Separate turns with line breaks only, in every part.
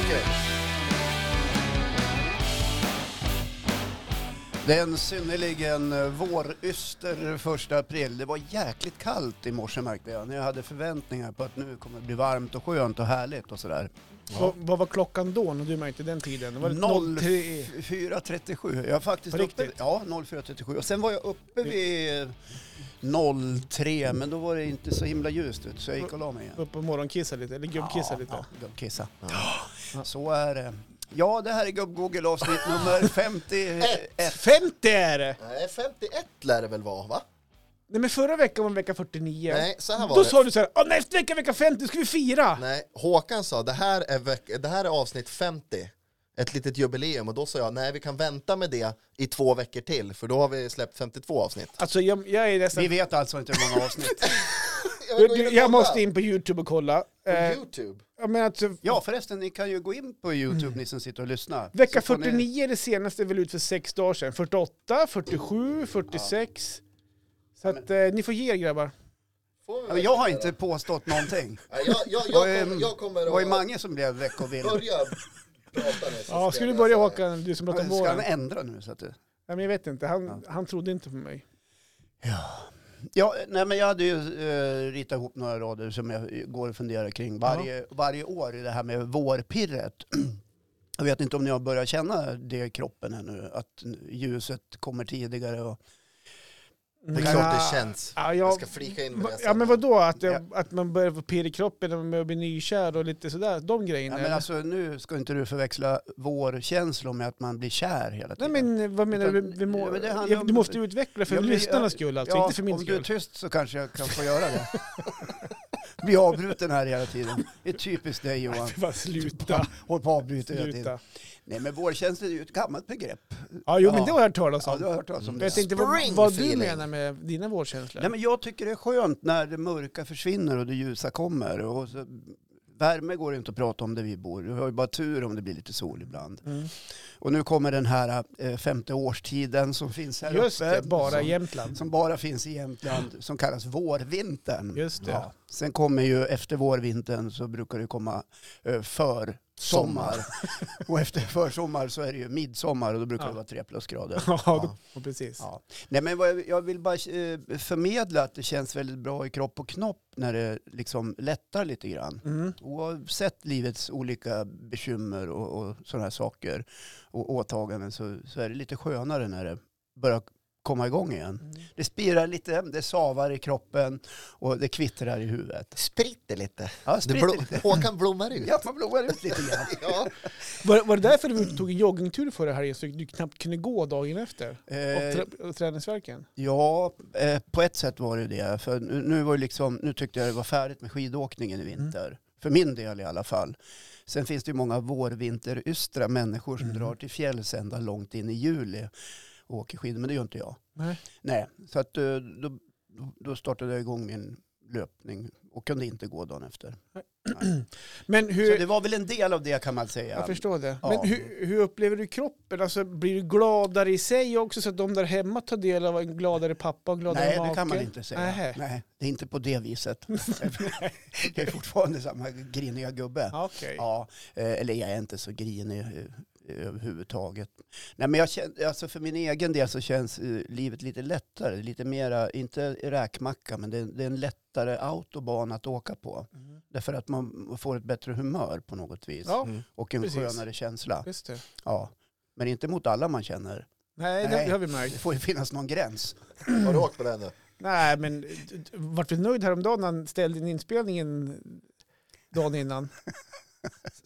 Okej. Det är en synnerligen eh, våryster första april. Det var jäkligt kallt i morse märkte jag. Jag hade förväntningar på att nu kommer det bli varmt och skönt och härligt och sådär.
Vad, vad var klockan då när du märkte den tiden? Det var
Noll-
03.
4.37. Jag var faktiskt
På
uppe,
riktigt?
ja, 04.37. Och sen var jag uppe vid eh, 03 men då var det inte så himla ljust ut så jag gick och la mig igen.
Upp och morgonkissa lite, eller gubbkissa lite.
Ja, gubbkissa. Ja. Så är det. Ja, det här är Gubb-Google avsnitt nummer 51.
50 är det!
Nej, 51 lär det väl vara, va?
Nej men förra veckan var en vecka 49.
Nej, så här var
Då
det.
sa du så här, "Åh, nästa vecka vecka 50, då ska vi fira!
Nej, Håkan sa det här, är veck- det här är avsnitt 50. Ett litet jubileum och då sa jag nej vi kan vänta med det i två veckor till för då har vi släppt 52 avsnitt.
Alltså jag, jag är nästan...
Vi vet alltså inte hur många avsnitt.
Jag, vill gå
Jag,
in och
jag
kolla.
måste in på Youtube och kolla. Eh,
På Youtube.
ja, men alltså,
Ja, förresten, ni kan ju gå in på YouTube, ni som sitter och lyssnar.
Mm. Vecka
Så får ni-
49 är det senaste väl ut för sex dagar sedan. 48, 47, 46. Så att eh, ni får ge er grabbar.
Får vi
Ja, men Jag har inte påstått någonting.
Nej, jag, jag, jag,
Vad är-
kommer, jag
Det var ju
kommer att
Mange som blev veckovild.
börja prata alltså. nu. så
Ja, ska
ska
du
jag
börja
säga-
Håkan, du som pratar om
Ska han
våren?
ändra nu? Så att det...
Nej men jag vet inte, han, han trodde inte på mig.
Ja, nej, men jag hade ju eh, ritat ihop några rader som jag går och funderar kring varje, varje år i det här med vårpirret. Jag vet inte om ni har börjat känna det i kroppen ännu, att ljuset kommer tidigare. Och,
Det är klart det känns.
Ja, jag,
Jag ska flika in med det
ja
sen.
men vadå, att, jag, att man börjar få pirr i kroppen och man börjar bli nykär och lite sådär, de
ja,
grejerna.
men alltså, nu ska inte du förväxla vårkänslor med att man blir kär hela
Nej
tiden.
men vad menar du?
Utan-
Vi må,
Ja, men det handlar
jag, du
om-
måste utveckla för
Ja, men-
lyssnarnas skull alltså, inte för min
om du är
skull.
tyst så kanske jag kan få göra det. Bli avbruten här hela tiden. Det är typiskt dig Johan.
Bara sluta,
Håll på och avbryter hela tiden.
sluta.
Nej men vårkänslor är ju ett gammalt begrepp.
Ja jo
Ja.
men det har jag hört talas
Ja,
om.
du har hört talas om
Men jag
det.
tänkte vad,
Spring
vad du
feeling.
menar med dina vårdkänslor.
Nej, men jag tycker det är skönt när det mörka försvinner och det ljusa kommer. Och så, värme går det inte att prata om där vi bor. Vi har ju bara tur om det blir lite sol ibland.
Mm.
Och nu kommer den här eh, femte årstiden som finns här
Just
uppe.
det, bara
som,
Jämtland.
som bara finns i Jämtland, som kallas vårvintern.
Just det.
Ja. Sen kommer ju efter vårvintern så brukar det komma eh, försommar. och efter försommar så är det ju midsommar och då brukar
Ja.
det vara tre plusgrader.
Ja, då- precis.
Ja. Nej, men vad jag, jag vill bara eh, förmedla att det känns väldigt bra i kropp och knopp när det liksom lättar lite grann.
Mm.
Oavsett livets olika bekymmer och, och sådana här saker och åtaganden så, så är det lite skönare när det börjar komma igång igen. Det spirar lite, det savar i kroppen och det kvittrar i huvudet.
Spritter lite.
Ja,
Det
spritter lite.
blom- Håkan blommar ut.
Ja, man blommar ut lite grann.
Ja.
Var, var det därför du tog en joggingtur förra helgen så du knappt kunde gå dagen efter? Och,
Eh,
tra- och träningsvärken?
Ja, eh, på ett sätt var det det. För nu, nu, var det liksom, nu tyckte jag det var färdigt med skidåkningen i
Mm.
vinter. För min del i alla fall. Sen finns det ju många vårvinterystra människor som
Mm.
drar till fjälls ända långt in i juli och åker skidor, men det gör inte jag.
Nej.
Nej, så att, eh, då, då- då startade jag igång min löpning och kunde inte gå dagen efter.
Men
Så
hur...
det var väl en del av det kan man säga.
Jag förstår det.
Ja.
Men hur, hur upplever du kroppen? Alltså, blir du gladare i sig också så att de där hemma tar del av en gladare pappa och gladare
Nej,
make?
det kan man inte säga.
Nähä.
Nej, det är inte på det viset. det är fortfarande samma griniga gubbe.
Ja, Ah, Okej.
Ja, eh, eller jag är inte så grinig eh, överhuvudtaget. Nej, men jag känner, alltså för min egen del så känns eh, livet lite lättare, lite mera, inte räkmacka, men det, det är en lättare autobahn att åka på.
Mm.
Därför att man får ett bättre humör på något vis
Ja,
Mm.
och en
precis.
skönare känsla.
just det.
Ja. Men inte mot alla man känner.
Nej,
Nej.
det har vi
Det
märkt.
får ju finnas någon gräns.
Har du åkt på den nu?
Nej, men d- d- vart vi nöjd häromdagen när han ställde in inspelningen dagen innan?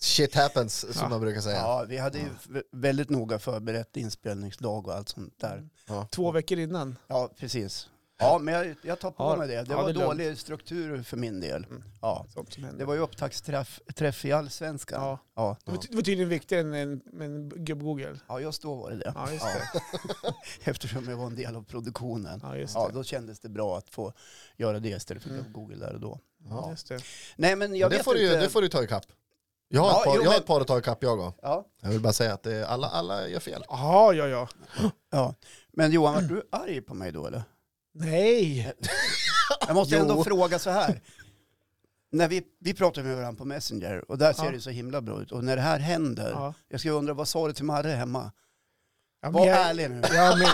Shit happens som
Ja.
man brukar säga.
Ja, vi hade ju v- väldigt noga förberett inspelningsdag och allt sånt där.
Två veckor innan.
Ja, precis. Ja, men jag, jag tar på
Ja,
mig det. Det
ja, det
var
är lugnt.
dålig struktur för min del.
Mm.
Ja.
Sånt som hände.
Det var ju upptaktsträff träff i allsvenskan. Ja. Ja.
Ja. Det var, ty- det var tydligen viktigare än en, en gubb-Google.
just då var det det.
Ja, just det.
Eftersom jag var en del av produktionen.
Ja, just det.
Ja, då kändes det bra att få göra det istället för
Mm.
Google där och då.
Ja.
Just det.
Nej, men jag
Men Det
vet
får, du,
inte.
ju- det får du ta ikapp. Jag har,
Ja,
ett, par,
jo,
jag har
men-
ett par att ta ikapp jag också.
ja.
Jag vill bara säga att det är, alla, alla gör fel.
Jaha, ja, ja.
Ja. Men Johan, var du arg på mig då eller?
Nej!
Jag måste
Jo.
ändå fråga så här. när vi, vi pratar med varandra på Messenger och där ser
Ja.
det så himla bra ut. Och när det här händer,
Ja.
jag skulle undra vad sa du till Marre hemma?
Ja, men
Var
jag,
ärlig nu.
ja, men,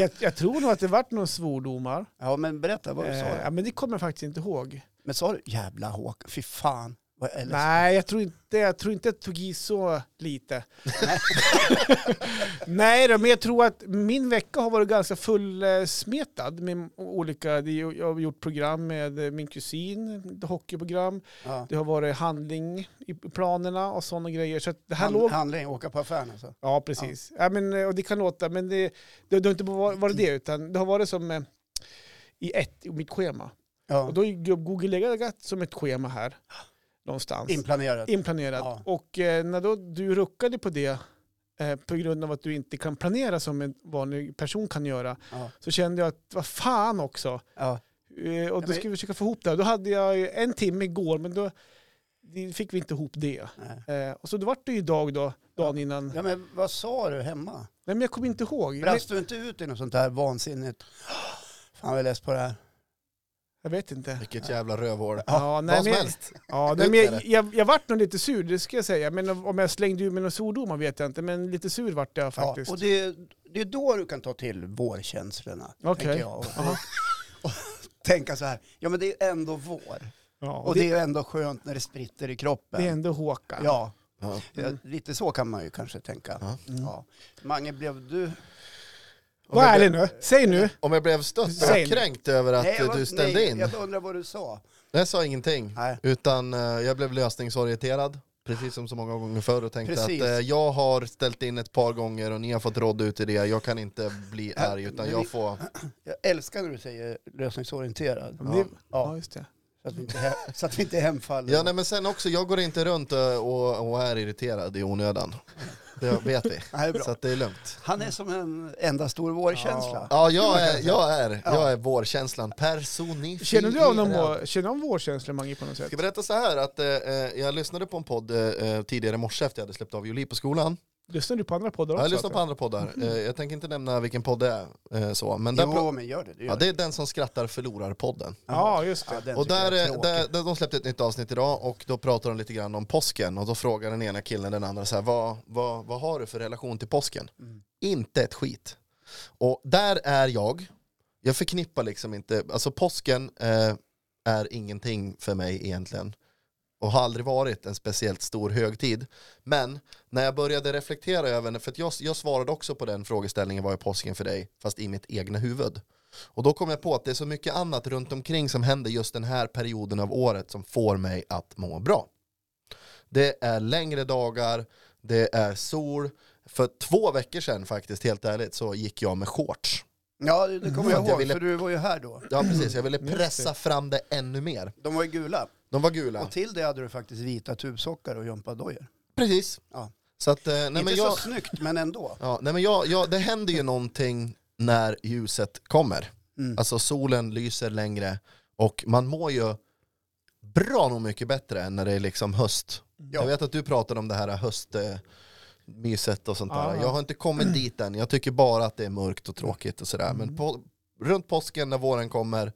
jag, jag tror nog att det vart några svordomar.
Ja men berätta vad du sa.
Eh, ja, men det kommer jag faktiskt inte ihåg.
Men sa du jävla Håkan, fy fan. Vad är det?
Nej, jag tror inte jag, tror inte jag tog i så lite. Nej då, men jag tror att min vecka har varit ganska fullsmetad med olika, det är ju- jag har gjort program med eh, min kusin, ett hockeyprogram,
Ja.
det har varit handling i planerna och sådana grejer. Så att det här
Hand,
låg...
Handling, åka på affären alltså.
Ja, precis. Ja. men, eh, och det kan låta, men det, det, det har inte bara varit det, utan det har varit som eh, i ett, i mitt schema.
Ja.
Och då är Google legat som ett schema här, någonstans
Inplanerat.
inplanerat.
Ja.
Och eh, när då du ruckade på det eh, på grund av att du inte kan planera som en vanlig person kan göra
Ja.
så kände jag att vad fan också.
Ja.
Eh, och då
men-
skulle vi försöka få ihop det. Då hade jag ju en timme igår men då det fick vi inte ihop det.
Nej.
Eh, och så då vart det ju idag då, dagen innan.
ja men vad sa du hemma?
Nej men jag kommer inte ihåg. Men,
Brast du inte ut i något sånt där vansinnigt? Fan vad jag är less på det här.
jag vet inte.
Vilket jävla rövhål.
Ja, nej,
Vad som
men,
helst.
ja,
Ut
nej, men
med
jag,
det.
jag, jag vart nog lite sur, det ska jag säga. Men om jag slängde ur mig några svordomar vet jag inte. Men lite sur vart jag
Ja,
faktiskt.
och det, det är då du kan ta till vårkänslorna,
Okej.
tänker jag. Och,
Aha.
och tänka så här, ja men det är ändå vår.
Ja,
Och det är ju ändå skönt när det spritter i kroppen.
det är ändå Håkan.
Ja,
Ja.
ja, lite så kan man ju kanske tänka.
Mm.
Mm.
Ja.
Ja. Mange, blev du...
Om
Var
jag,
ärlig
blev,
nu, säg nu.
om jag blev stött
Säg
och
nu.
kränkt över att
jag
eh,
var-
du ställde
nej,
in.
Jag undrar vad du sa.
Jag sa ingenting.
Nej.
Utan eh, jag blev lösningsorienterad, precis som så många gånger förr och tänkte
Precis.
att eh, jag har ställt in ett par gånger och ni har fått råd ut i det. Jag kan inte bli arg utan
men vi-
jag får...
Jag älskar när du säger lösningsorienterad. Mm.
Ja. Det, ja,
Ja,
just det.
så, att vi inte, he- så att vi inte hemfaller.
Ja nej, men sen också, jag går inte runt eh, och, och är irriterad i onödan. Det vet vi.
Nej, bra.
Så att det är lugnt.
Han är som en enda stor vårkänsla.
Ja jag är, jag är, jag är vårkänslan personifierad.
Känner du av någon vår, känner du av vårkänslor Mange på något sätt?
Jag ska berätta så här att eh, eh, jag lyssnade på en podd eh, tidigare i morse efter jag hade släppt av Julie på skolan.
Lyssnar du på andra poddar
Ja,
också?
jag lyssnar på
alltså?
andra poddar. Eh, jag tänker inte nämna vilken podd det är. Eh, så. Men där
Jo, men gör det. det, gör
Ja, det är den som skrattar förlorar-podden.
Ja, just
Ja,
det.
den
Och
tycker
där,
jag är
eh,
tråkig.
där, där de släppte ett nytt avsnitt idag och då pratar de lite grann om påsken och då frågar den ena killen den andra så här, vad, vad, vad har du för relation till påsken?
Mm.
Inte ett skit. Och där är jag, jag förknippar liksom inte, alltså påsken eh, är ingenting för mig egentligen och har aldrig varit en speciellt stor högtid. Men när jag började reflektera över det, för att jag, jag svarade också på den frågeställningen, vad är påsken för dig? Fast i mitt egna huvud. Och då kom jag på att det är så mycket annat runt omkring som händer just den här perioden av året som får mig att må bra. Det är längre dagar, det är sol. För två veckor sedan faktiskt, helt ärligt, så gick jag med shorts.
Ja, det det kommer jag
För Mm. att jag
ihåg,
ville-
för du var ju här då.
Ja, precis. Jag ville
Just det.
pressa fram det ännu mer.
De var ju gula.
De var gula.
Och till det hade du faktiskt vita tubsockar och jumpadojor.
Precis.
Ja.
Så att, eh, nej, men
Inte
jag...
så snyggt, men ändå.
Ja, nej men jag, jag, det händer ju någonting när ljuset kommer.
Mm.
Alltså solen lyser längre och man mår ju bra nog mycket bättre än när det är liksom höst.
Ja.
Jag vet att du pratade om det här höstmyset och sånt
Ja.
där. Jag har inte kommit dit än. Jag tycker bara att det är mörkt och tråkigt och sådär. Men på, runt påsken när våren kommer,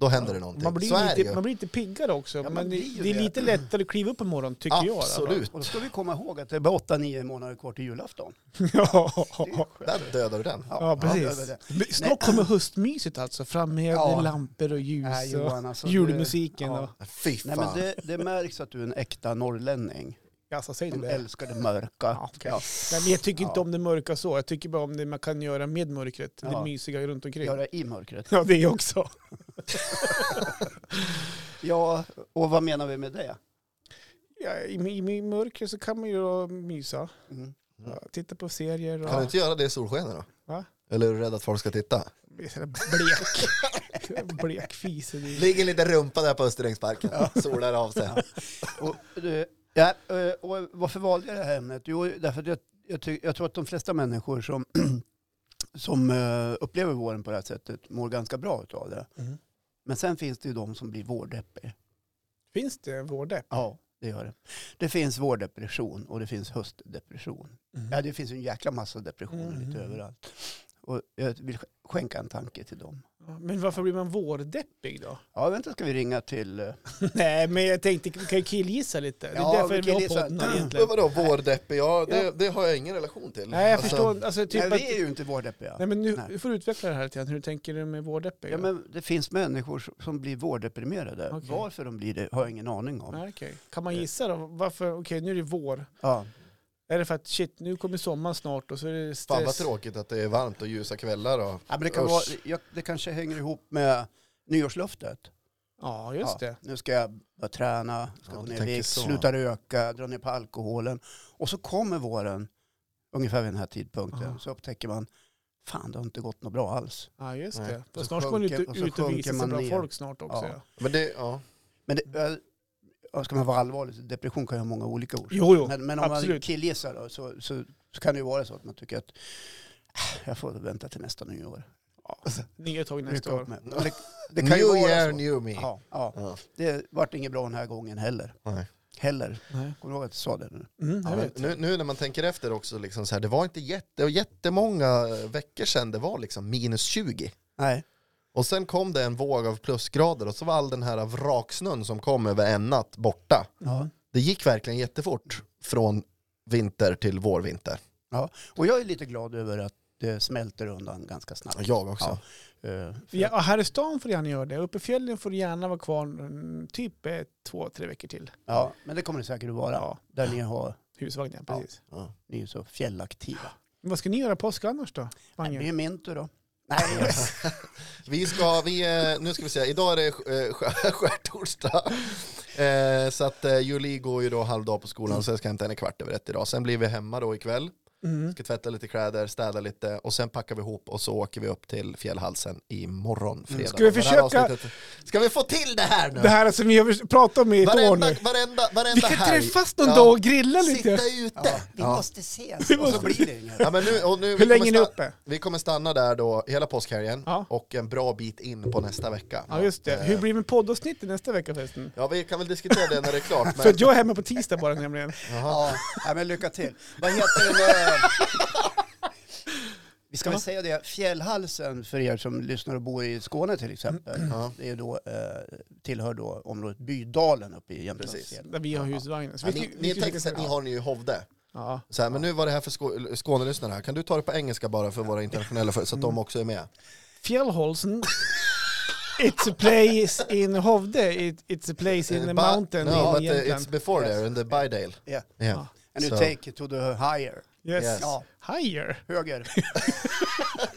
då händer det någonting.
Man blir,
Så är det
lite,
ju.
man blir lite piggare också.
man
men det,
blir ju
det är
det.
lite lättare att kliva upp på morgonen, tycker
Absolut.
Och då ska vi komma ihåg att det är bara 8-9 månader kvar till julafton.
jag. i alla fall. Ja,
Där dödar du den.
ja
det- det-
precis. Men Snart kommer höstmyset alltså, fram med
Ja.
lampor och ljus
Nej,
och
Johan, alltså, det-
julmusiken.
ja.
Och,
Fy fan.
Nej, men det, det märks att du är en äkta norrlänning.
alltså, säg det.
De
där.
älskar det mörka.
Ja, okej.
Ja.
Nej, men jag tycker inte
Ja.
om det mörka så. Jag tycker bara om det man kan göra med mörkret.
Ja.
Det mysiga runt omkring.
Göra i mörkret.
Ja, det också.
Ja, och vad menar vi med det?
Ja, i, i, I mörker så kan man ju mysa.
Mm.
Ja, titta på serier och...
Kan du inte göra det i solskenet då?
Va?
Eller är du rädd att folk ska titta?
Blek. Blek fis.
Ligger lite rumpa där på Österängsparken. Solar av sig.
Och, eh, ja, eh, och varför valde jag det här ämnet? Jo, därför att jag, jag, ty, jag tror att de flesta människor som, som eh, upplever våren på det här sättet mår ganska bra utav det.
Mm.
Men sen finns det ju de som blir vårdeppiga.
Finns det en vårdepp?
Ja, det gör det. Det finns vårdepression och det finns höstdepression. Ja, det finns ju en jäkla massa depressioner
Mm.
lite överallt. Och jag vill sk- skänka en tanke till dem.
Ja, Men varför blir man vårdeppig då?
Ja, vänta ska vi ringa till... eh,
Nej, men jag tänkte, vi kan ju killgissa lite. Det är
Ja, vi
därför vi har
killgissar.
podden här
Men
egentligen.
vadå vårdeppig? Ja, det, det har jag ingen relation till.
Nej, jag
Alltså,
förstår. Alltså, typ
Nej,
att,
vi är ju inte vårdeppiga.
nej, men nu
Nej.
du får du utveckla det här lite grann. Hur tänker du med vårdeppig?
Ja, men det finns människor som- som blir vårddeprimerade.
Okej.
Varför de blir det har jag ingen aning om.
Nej, okej. Kan man gissa då? Varför? Okej, nu är det vår.
Ja.
Är det för att shit, nu kommer sommaren snart och så är det stress?
Fan vad tråkigt att det är varmt och ljusa kvällar och...
Ja, men det, kan
Usch.
vara, jag, det kanske hänger ihop med nyårslöftet.
Ja, just
Ja,
det.
Nu ska jag börja träna, ska
Ja,
gå
du
ner i
tänker
vikt,
så.
sluta röka, dra ner på alkoholen. Och så kommer våren, ungefär vid den här tidpunkten,
Aha.
så upptäcker man, fan det har inte gått något bra alls.
Ja, just
Nej.
det.
Så
Fast snart ska man ju
sjunker- och
ut
så
ut och
sjunker
visa sig
man
bland
ner.
folk snart också.
Ja.
Ja.
Men det, ja.
Men det, jag- jag, ska man vara allvarlig, så depression kan ju ha många olika orsaker.
Jo, jo.
Men, men om man
absolut.
killgissar då, så, så, så kan det ju vara så att man tycker att "Äh, jag får vänta till nästa nyår.
Nya tag nästa
Rycka upp
år.
mig. Men Det, det kan ju
New
vara
year,
så.
new me.
Ja, ja.
Ja.
Det vart inget bra den här gången heller.
Nej.
Heller.
Nej.
Kommer du ihåg att jag sa det nu?
Mm, jag
Ja, men
vet.
nu, nu när man tänker efter också, liksom så här, det var inte jätte, det var jättemånga eh, veckor sedan det var liksom minus 20.
Nej.
Och sen kom det en våg av plusgrader och så var all den här vraksnön som kom över en natt borta.
Ja.
Det gick verkligen jättefort från vinter till vårvinter.
Och jag är lite glad över att det smälter undan ganska snabbt.
Jag också.
Ja. Eh, för-
Ja, här i stan får du gärna göra det. Uppe i fjällen får du gärna vara kvar mm, typ eh, två, tre veckor till.
ja, men det kommer det säkert att vara.
Ja,
Där ni, har,
husvagnen,
Ja.
precis.
Ja.
ni är ju så fjällaktiva.
Men vad ska ni göra påsk annars då?
Nej, det
Mange?
är min tur då. Nej,
Vi ska, vi, eh, nu ska vi se, idag är det eh, skär- skärtorsdag. Eh, Så att eh, Julie går ju då halvdag på skolan så jag ska hämta henne kvart över ett idag. Sen blir vi hemma då ikväll.
Mm.
Ska tvätta lite kläder, städa lite och sen packar vi ihop och så åker vi upp till fjällhalsen imorgon fredag.
Mm, Ska vi
Det här
försöka-
avsnittet- Ska vi få till det här nu?
Det här som vi har pratat om i ett år
varenda,
nu.
varenda, varenda
Vi kan
helg.
träffas någon
Ja.
dag och grilla lite.
Sitta ute.
vi
Ja.
måste ses. Och så blir det inget.
Ja, men nu, och nu, vi
Hur länge
kommer
är ni
sta-
uppe?
Vi kommer stanna där då hela påskhelgen
Ja.
och en bra bit in på nästa vecka.
Ja, just
Eh.
det. Hur blir det med poddavsnittet nästa vecka förresten?
Ja, vi kan väl diskutera det när det är klart.
För
Men,
att jag är hemma på tisdag bara nämligen.
Ja, ja, men lycka till. Vad heter det? Vi ska väl säga det, Fjällhalsen för er som lyssnar och bor i Skåne till exempel,
Ja.
det är då, eh, tillhör då området Bydalen uppe i
Precis.
Jämtlandsfjällen.
Där vi har husvagnen. Så
ja,
vi
eh, ni,
ska- vi
ni
ska
tänker
försöka-
sig att ni har ni ju i Hovde.
Ja.
Så här, men nu var det här för Skå- Skånelyssnare här. Kan du ta det på engelska bara för våra internationella för så att de också är med?
Fjällholsen. It's a place in Hovde. It, it's a place in the
Eh, Ba-
mountain
No, but
in
uh, it's
Jämtland.
before
Yes.
there, in the Bydale.
Yeah.
Yeah.
Ah.
And you
So-
take it to the higher.
Yes.
Yes.
Ja,
Higher.
höger.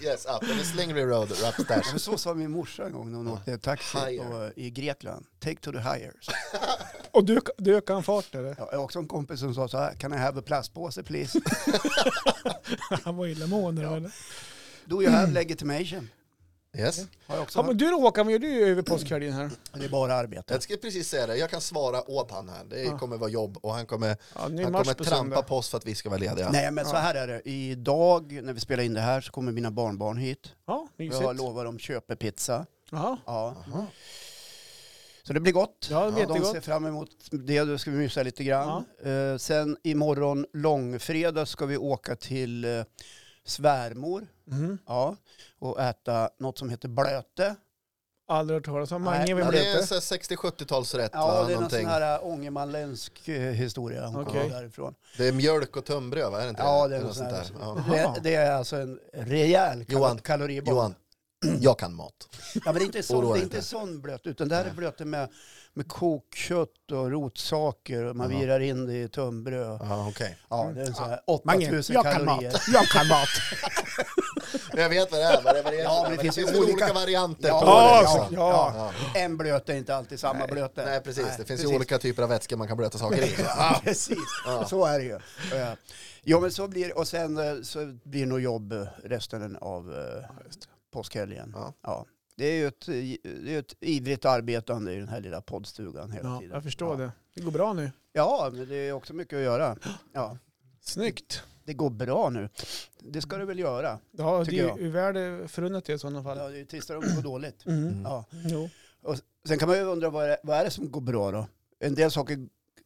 Yes, up. And the Slingry Road, or upstairs.
Ja, men så sa min morsa en gång när hon åkte taxi
Higher.
på, i Grekland. Take to the higher. Så,
Och du, du ökar han fart eller?
ja, jag har också en kompis som sa så här, can I have a plastpåse please?
Han var illamående då, eller?
Do you have legitimation?
Yes.
Har jag också
Ja men
hört.
du då Håkan, vad gör du över påskhelgen här?
Det är bara arbete.
Jag skulle precis säga det, jag kan svara åt han här. Det
Ja.
kommer vara jobb och han kommer,
Ja, nu är
han
match
kommer
på
trampa
söndag.
på oss för att vi ska vara lediga.
Nej men så här är det, idag när vi spelar in det här så kommer mina barnbarn hit.
Ja,
Jag har
mysigt.
lovat dem köpepizza.
Jaha.
Ja.
Jaha.
Så det blir gott.
Ja, det blir
de ser
jättegott.
fram emot det, då ska vi mysa lite grann. Eh, sen imorgon långfredag ska vi åka till eh, svärmor
Mhm.
ja, och äta något som heter blöte.
Aldrig hört talas om.
Nej,
Mange,
Ja,
vem
det är
blev
en
det?
sån här 60-70-talsrätt
Ja,
va?
det är någon sån
Någonting.
här eh, ångermanländsk eh, historia. Hon
Okej.
kommer därifrån.
Det är mjölk och tunnbröd va? Är det inte
Ja, det är något
något
sånt där.
Ja.
Det, det är alltså en rejäl kal-
Johan.
kaloribomb.
Johan, jag kan mat.
Ja, men det är inte sån,
Oroa
det är
dig
inte
inte.
sån blöt, utan det här är
Nej.
blöte med, med kokkött och rotsaker. Och man
Jaha.
virar in det i tunnbröd.
Ja, okej.
Ja, det är en sån här 8000
jag kan mat.
kalorier.
Jag kan mat.
Men Jag vet vad det är, vad det är, vad det är.
Ja, men det finns ju olika-
varianter
Ja,
på
Ja,
det.
ja.
liksom.
ja.
Ja.
En blöt är inte alltid samma blöte.
Nej, precis. det finns
precis.
ju olika typer av vätskor man kan blöta saker i.
Ja, precis. Så är det ju. Eh, Ja, men så blir Och sen eh, så blir det nog jobb eh, resten av eh, påskhelgen. Ja.
Ja.
Det är ju ett, eh, det är ju ett ivrigt arbetande i den här lilla poddstugan hela
ja,
tiden.
jag förstår
ja.
det. Det går bra nu.
Ja, men det är också mycket att göra. Ja.
Snyggt.
Det går bra nu. Det ska det väl göra.
Ja, det
Tycker
är
jag.
ju värde förunnat det i sådana
Ja,
fall.
det är ju tristare om det går dåligt.
Mm.
Mm.
Ja.
Jo.
Sen kan man ju undra vad är, vad är det som går bra då? En del saker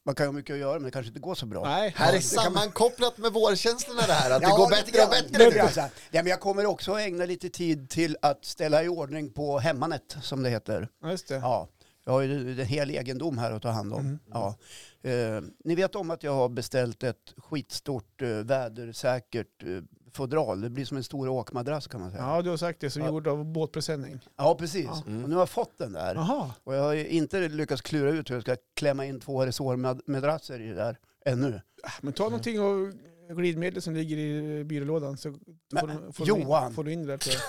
Man kan ju ha mycket att göra men det kanske inte går så bra.
Nej.
Här är
det kan man-
sammankopplat med vårkänslorna det här, att det
Ja,
går
lite
bättre och
grann.
bättre.
Lite grann så här. Ja, men jag kommer också ägna lite tid till att ställa i ordning på hemmanet som det heter.
Ja, just det.
Ja, jag har ju en hel egendom här att ta hand om.
Mm.
Ja. Eh, ni vet om att jag har beställt ett skitstort eh, vädersäkert eh, fodral. Det blir som en stor åkmadrass kan man säga. Ja,
Ja, du har sagt det som
Ja.
gjord av båtpresenning.
precis.
Ja.
Och nu har jag fått den där.
Jaha.
Och jag har ju inte lyckats klura ut hur jag ska klämma in två resårmadrasser i det där ännu.
Men ta någonting av glidmedlet som ligger i byrålådan så får, du, får, Du
Johan!
in, får du in det där. tror jag.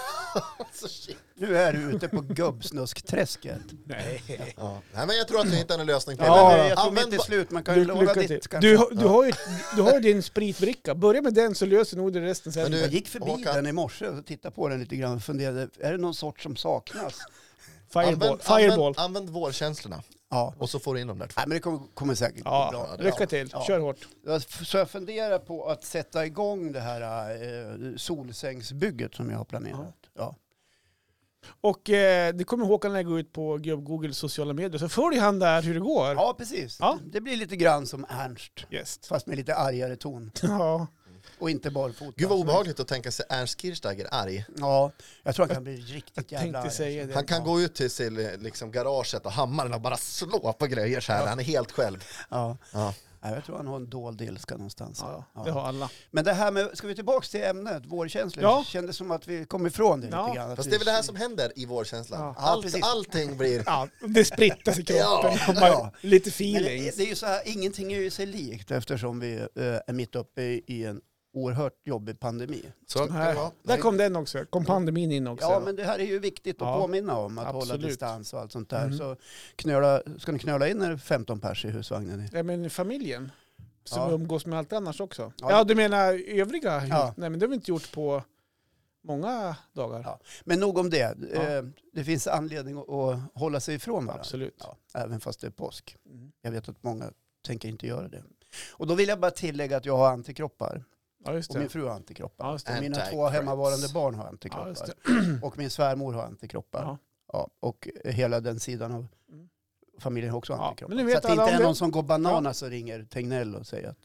Alltså, shit.
Nu är du ute på gubbsnuskträsket.
Nej.
Ja. Nej, men jag tror att vi hittar en lösning på
Ja,
det.
men jag tror
Använd
mitt är
ba-
slut. Man kan ju
Du,
låna
lycka till.
ditt kanske.
du, har- du, har ju, du har ju din spritbricka. Börja med den så löser nog det resten sen.
Men du-
Jag gick förbi
Håkan.
den i morse och tittade på den lite grann och funderade, är det någon sort som saknas?
Fireball.
Använd,
Fireball.
Använd, använd vårkänslorna
Ja,
och så får du in dem där två.
Nej, men det kommer, kommer säkert gå
Ja,
bra.
lycka till.
Ja.
Kör hårt.
Jag- Så jag funderar på att sätta igång det här eh, solsängsbygget som jag har planerat. Ja.
Och eh, det kommer Håkan lägga ut på Gubb Google sociala medier. Så följ han där hur det går.
ja, precis.
Ja.
Det blir lite grann som Ernst,
Yes.
fast med lite argare ton
Ja.
och inte barfota.
Gud vad obehagligt att tänka sig Ernst Kirchsteiger arg.
Ja, jag tror han kan bli riktigt
Jag
jävla
tänkte
arg.
säga det.
Han kan gå ut till sig, liksom, garaget och hammaren och bara slå på grejer så här. Han är helt själv.
Ja.
Ja.
Nej, jag tror han har en dold ilska någonstans.
Ja,
Ja.
det har alla.
Men det här med, ska vi tillbaka till ämnet, vårkänslor?
Ja.
Kändes som att vi kom ifrån det
Ja.
lite grann. att
Fast
vi-
det är väl det här som händer i vårkänslan.
Ja,
precis.
Allt, allting blir...
Ja, det sprittas i kroppen.
Ja.
Och man-
Ja.
Lite
Men
feeling.
det, det är ju så här, ingenting är ju sig likt eftersom vi eh, är mitt uppe i, i en oerhört jobbig pandemi.
Så kan det
Här.
vara.
Där kom den också. Kom pandemin in också.
Ja, men det här är ju viktigt att
Ja,
påminna om, att hålla
absolut.
distans och allt sånt där.
Mm.
Så knöla, ska ni knöla in er 15 pers i husvagnen?
Ja, men familjen. Som
Ja.
umgås med allt annars också.
Ja.
Ja, du menar övriga?
Ja.
Nej, men det har vi inte gjort på många dagar.
Ja, Men nog om det.
Ja.
Eh, Det finns anledning att- att hålla sig ifrån varandra.
Absolut.
Ja, även fast det är påsk.
Mm.
Jag vet att många tänker inte göra det. Och då vill jag bara tillägga att jag har antikroppar.
Ja, just
Och min
det.
fru Äh. har antikroppar.
Ja, just
Och
det.
mina två
Antikropps.
hemmavarande barn har
Ja,
antikroppar.
just det.
Och min svärmor har antikroppar. Ja.
Ja.
och hela den sidan av
Mm.
familjen har också
Ja,
antikroppar.
men nu vet
så att det
alla
inte
om
är
det.
någon som går bananas och ringer Tegnell och säger att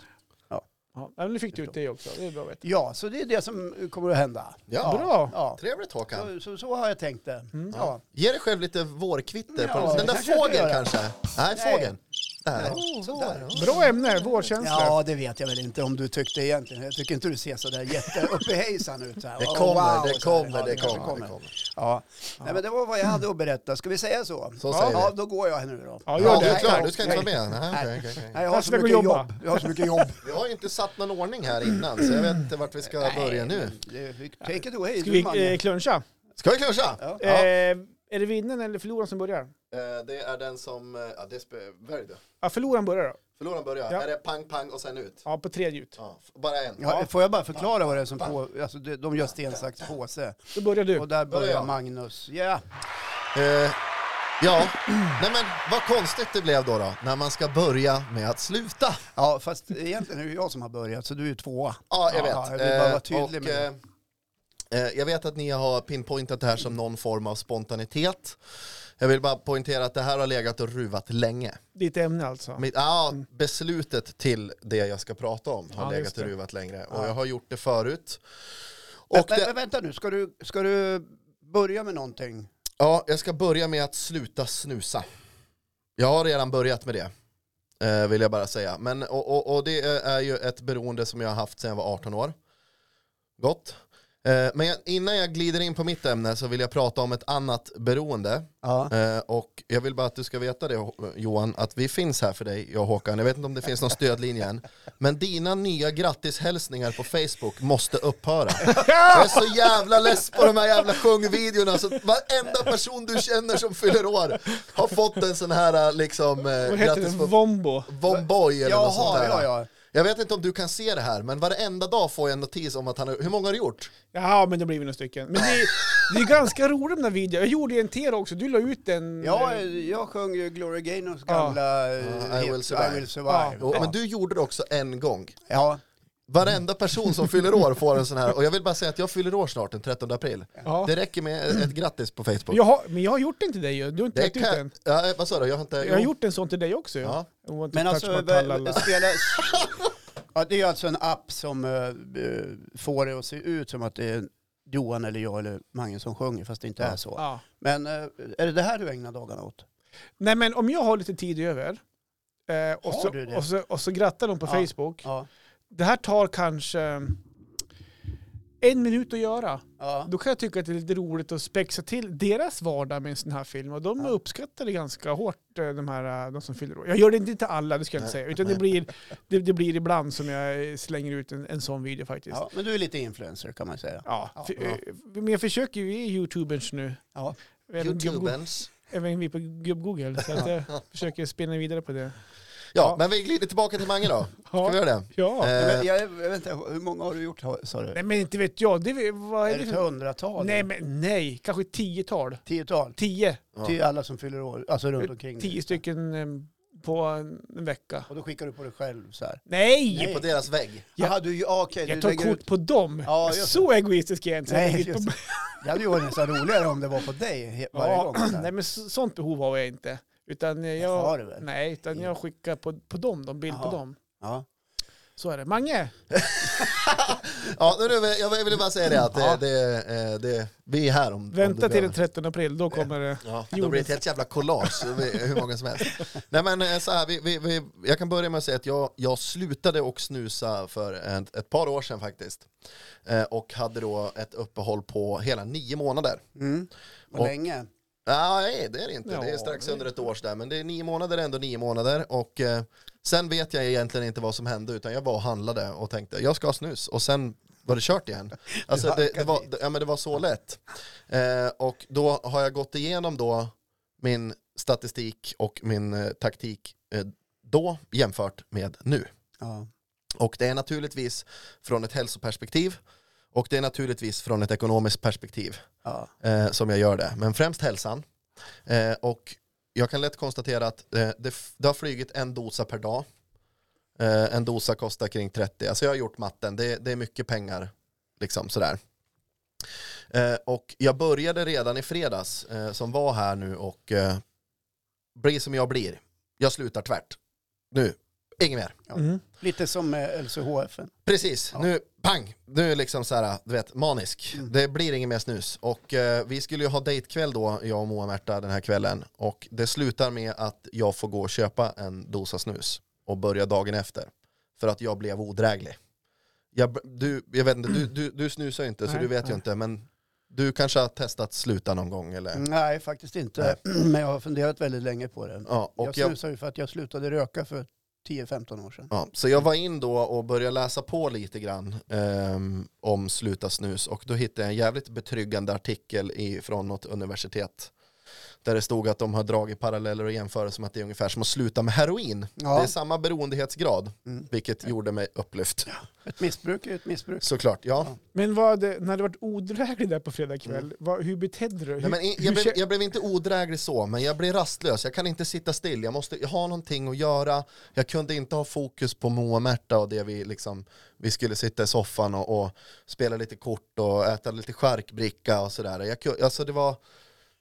Ja, men nu fick du ut det också. Det är bra att veta.
ja, så det är det som kommer att hända.
Ja.
Bra!
Ja.
Trevligt Håkan.
Så, så, så har jag tänkt det.
Mm.
Ja.
Ge dig själv lite vårkvitter.
Ja,
på den
det
där
kanske jag ska
fågeln
göra.
kanske? Nej,
Nej. Oh,
fågeln. Där.
Ja.
Sådär.
Bra ämne, vårkänslor.
Ja, det vet jag väl inte om du tyckte egentligen. Jag tycker inte du ser så där jätteuppehejsan ut. Så här.
Det
Oh,
kommer,
wow,
det
så här.
kommer,
Ja,
det
kanske
kommer. det kommer.
Ja. Nej, men det var vad jag hade att berätta. Ska vi säga så?
Så
ja,
säger vi.
ja, då går jag nu då.
Ja, gör
Ja,
det.
du är klar.
Ja,
Du ska inte vara
okej.
med? Nej, okej, okej, okej.
Nej, jag har
Fast
så
vi går
mycket
jobba.
jobb. Jag har så mycket jobb.
Vi har ju inte satt någon ordning här
Mm.
innan, så jag vet inte vart vi ska börja nu.
Det- vi- Take it away.
Ska
du,
vi eh,
Mange.
kluncha?
Ska vi kluncha?
Ja.
Ja.
Eh, är det vinnaren eller förloraren som börjar?
Eh, Det är den som... eh, Ja, det sp- välj du.
Ja, förloraren börjar då.
Förloraren börjar.
Ja.
Är det pang, pang och sen ut?
Ja, på tre gjut.
Ja, f- bara en.
Ja, får jag bara förklara vad det är som på, alltså det- de gör sten, sax, påse.
Då börjar du.
Och där
Börja.
börjar Magnus. Ja,
Eh, Ja, nej men vad konstigt det blev då, då när man ska börja med att sluta.
ja, fast egentligen är det jag som har börjat så du är ju tvåa.
Ja, jag vet.
Ja, jag vill bara vara
Eh,
tydlig
och,
med
eh, eh, Jag vet att ni har pinpointat det här som någon form av spontanitet. Jag vill bara poängtera att det här har legat och ruvat länge.
Ditt ämne alltså.
Mitt, ja, beslutet till det jag ska prata om har
Ja,
legat
just
och
det.
ruvat längre och jag har gjort det förut. Och
Vänta,
det,
vänta nu, ska du, ska du börja med någonting?
ja, jag ska börja med att sluta snusa. Jag har redan börjat med det, eh, vill jag bara säga. Men, och, och, och det är ju ett beroende som jag har haft sedan jag var 18 år. Gott. Eh, Men jag- innan jag glider in på mitt ämne så vill jag prata om ett annat beroende.
Ja.
Eh, Och jag vill bara att du ska veta det Johan, att vi finns här för dig, jag och Håkan. Jag vet inte om det finns någon stödlinje än. Men dina nya grattishälsningar på Facebook måste upphöra. Jag är så jävla less på de här jävla sjungvideorna. Så att varenda person du känner som fyller år har fått en sån här liksom eh,
Vad heter det?
grattis på
Vombo?
Vomboy eller något sånt
Jaha,
där.
ja, ja.
Jag vet inte om du kan se det här, men varenda dag får jag en notis om att han har, hur många har du gjort?
Ja, men det blir vi några stycken. Men det är, det är ganska roligt med videor. Jag gjorde en till er också. Du la ut en...
Ja,
eh,
jag sjöng ju Gloria Gaynors
Ja.
gamla eh,
Ja, I
hit,
Will Survive.
I will survive.
Ja.
Ja.
Jo, Men du gjorde det också en gång.
ja.
Varenda person som fyller år får en sån här, och jag vill bara säga att jag fyller år snart den 13 april.
Ja.
Det räcker med ett grattis på Facebook.
Jag har, men jag har gjort den till dig ju. Du har inte
det
lagt ut den.
kan, ja, eh, vad sa du? Jag har inte...
Jag har gjort en sån till dig också ju.
Ja.
I want to
Men
touch
alltså,
my
vad-
talala.
spelas... Ja, det är alltså en app som eh, eh, får det att se ut som att det är Johan eller jag eller Mange som sjunger, fast det inte
Ja.
är så.
Ja.
Men eh, är det det här du ägnar dagarna åt?
Nej men om jag har lite tid över eh, och,
Har
så,
du det?
och, så, och så grattar de på
Ja.
Facebook.
Ja.
Det här tar kanske eh, en minut att göra.
ja.
Då kan jag tycka att det är lite roligt att spexa till deras vardag med en sån här film. Och de
Ja.
uppskattar det ganska hårt, eh, de, här, eh, de som fyller år. Jag gör det inte till alla, det ska jag inte
Nej.
säga. Utan det blir, det, det blir ibland som jag eh, slänger ut en, en sån video faktiskt. Ja.
ja. Men du är lite influencer kan man säga. Ja.
För, eh, Men jag försöker ju, vi är youtuberns nu.
Ja.
Även gubb-
Youtubens.
Även vi på gubb-Google. Så att jag försöker spinna vidare på det.
Ja, men vi glider tillbaka till Mange då. Ska vi
Ja.
göra det?
ja.
Nej,
Eh,
Men jag, jag vet inte, hur många har du gjort sa du?
Nej men inte vet jag. Det, är- vad
är
är
det
det
ett
för...
hundratal?
Nej, men, nej, kanske ett tiotal.
Tiotal?
Tio.
ja.
Till alla som fyller år, alltså runt omkring dig.
Tio stycken eh, på en vecka.
Och då skickar du på dig själv så här?
Nej!
Nej.
På deras vägg.
Ja.
Jaha, du, ja, okej,
Jag
du
tar
lägger
kort
ut-
på dem.
Ja, just det.
så egoistisk är jag inte. Så jag
Nej,
lägger ut
just
på...
det. Det hade ju varit nästan roligare om det var på dig he- varje
ja.
gång. så här.
Nej, men så- sånt behov har jag inte. Utan eh,
Det har
jag,
du väl?
nej, utan jag skickar på, på dem, de bild
Jaha.
på dem.
Ja.
Så är det. Mange,
Ja, nu, är det- jag ville bara säga det att
Ja.
det, det, eh, det, vi är här om om du
vänta till
behöver.
den 13 april, då kommer det.
Ja, då blir det ett helt jävla collage, hur många som helst. Nej men eh, så här, vi, vi, vi, jag kan börja med att säga att jag, jag slutade och snusa för ett, ett par år sedan faktiskt. Eh, och hade då ett uppehåll på hela nio månader.
Mm. Vad
Och-
länge?
Nej det är det inte, det är
Ja,
strax
det-
under ett års där. Men det är nio månader är ändå nio månader. Och eh, sen vet jag egentligen inte vad som hände utan jag var och handlade och tänkte jag ska ha snus. Och sen var det kört igen. Alltså det, det, var, ja, men det var så lätt. Eh, och då har jag gått igenom då min statistik och min eh, taktik eh, då jämfört med nu.
Ja.
Och det är naturligtvis från ett hälsoperspektiv och det är naturligtvis från ett ekonomiskt perspektiv
Ja.
eh, som jag gör det. Men främst hälsan. Eh, och jag kan lätt konstatera att eh, det, f- det har flugit en dosa per dag. Eh, en dosa kostar kring 30. Alltså jag har gjort matten. Det, det är mycket pengar. Liksom sådär. Eh, och jag började redan i fredags eh, som var här nu och eh, bli som jag blir. Jag slutar tvärt. Nu, inget mer.
Ja.
Mm.
Lite som med LCHF.
Äh. Precis,
Ja.
nu pang, nu är det liksom så här, du vet, manisk.
Mm.
Det blir ingen mer snus. Och eh, vi skulle ju ha dejtkväll då, jag och Moa Märta den här kvällen. Och det slutar med att jag får gå och köpa en dosa snus och börja dagen efter. För att jag blev odräglig. Jag, b- du, jag vet inte, du, du, du snusar ju inte så
Nej,
du vet ju
nej.
inte. Men du kanske har testat sluta någon gång eller?
Nej, faktiskt inte. Men jag har funderat väldigt länge på det.
Ja,
Jag
och jag,
snusar ju för att jag slutade röka för 10-15 år sedan.
Ja, så jag var in då och började läsa på lite grann ehm, om sluta snus och då hittade jag en jävligt betryggande artikel i, från något universitet där det stod att de har dragit paralleller och jämförelser med att det är ungefär som att sluta med heroin.
Ja.
Det är samma beroendehetsgrad,
Mm.
vilket gjorde mig upplyft.
Ett missbruk är ju ett missbruk.
Såklart, ja.
Men vad, det- när du varit odräglig där på
Mm.
fredag kväll, vad, hur betedde du dig?
Nej, men i-
Hur- hur
jag, blev,
kä-
jag blev inte odräglig så, men jag blev rastlös. Jag kan inte sitta still. Jag måste ha någonting att göra. Jag kunde inte ha fokus på Moa och Märta och det vi liksom, vi skulle sitta i soffan och, och spela lite kort och äta lite charkbricka och sådär. Jag, ku- alltså det var,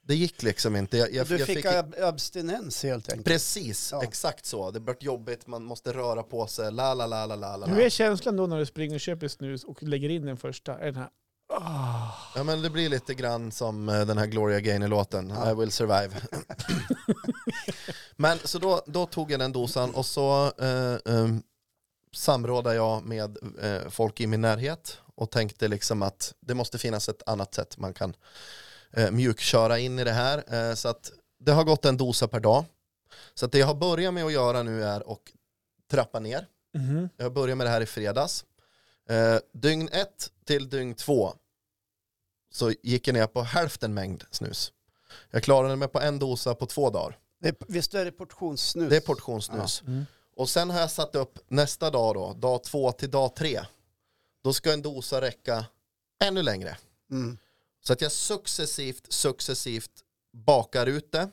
det gick liksom inte. Jag, jag,
du
jag
fick, ab- abstinens helt enkelt.
Precis,
Ja.
exakt så. Det blev jobbigt, man måste röra på sig, la la la la la la.
hur är känslan då när du springer och köper snus och lägger in den första? Är den här, ah.
Ja men det blir lite grann som eh, den här Gloria Gaynor-låten,
Ja.
I will survive. men så då, då tog jag den dosan och så eh, eh, samrådade jag med eh, folk i min närhet och tänkte liksom att det måste finnas ett annat sätt man kan eh, mjukköra in i det här. Eh, så att det har gått en dosa per dag. Så att det jag har börjat med att göra nu är att trappa ner.
Mhm.
Jag började med det här i fredags. Eh, dygn ett till dygn två så gick jag ner på hälften mängd snus. Jag klarade mig på en dosa på två dagar.
Det är, visst är det portionssnus?
Det är portionssnus.
Mm.
Och sen har jag satt upp nästa dag då, dag två till dag tre. Då ska en dosa räcka ännu längre.
Mm.
Så att jag successivt, successivt bakar ut det.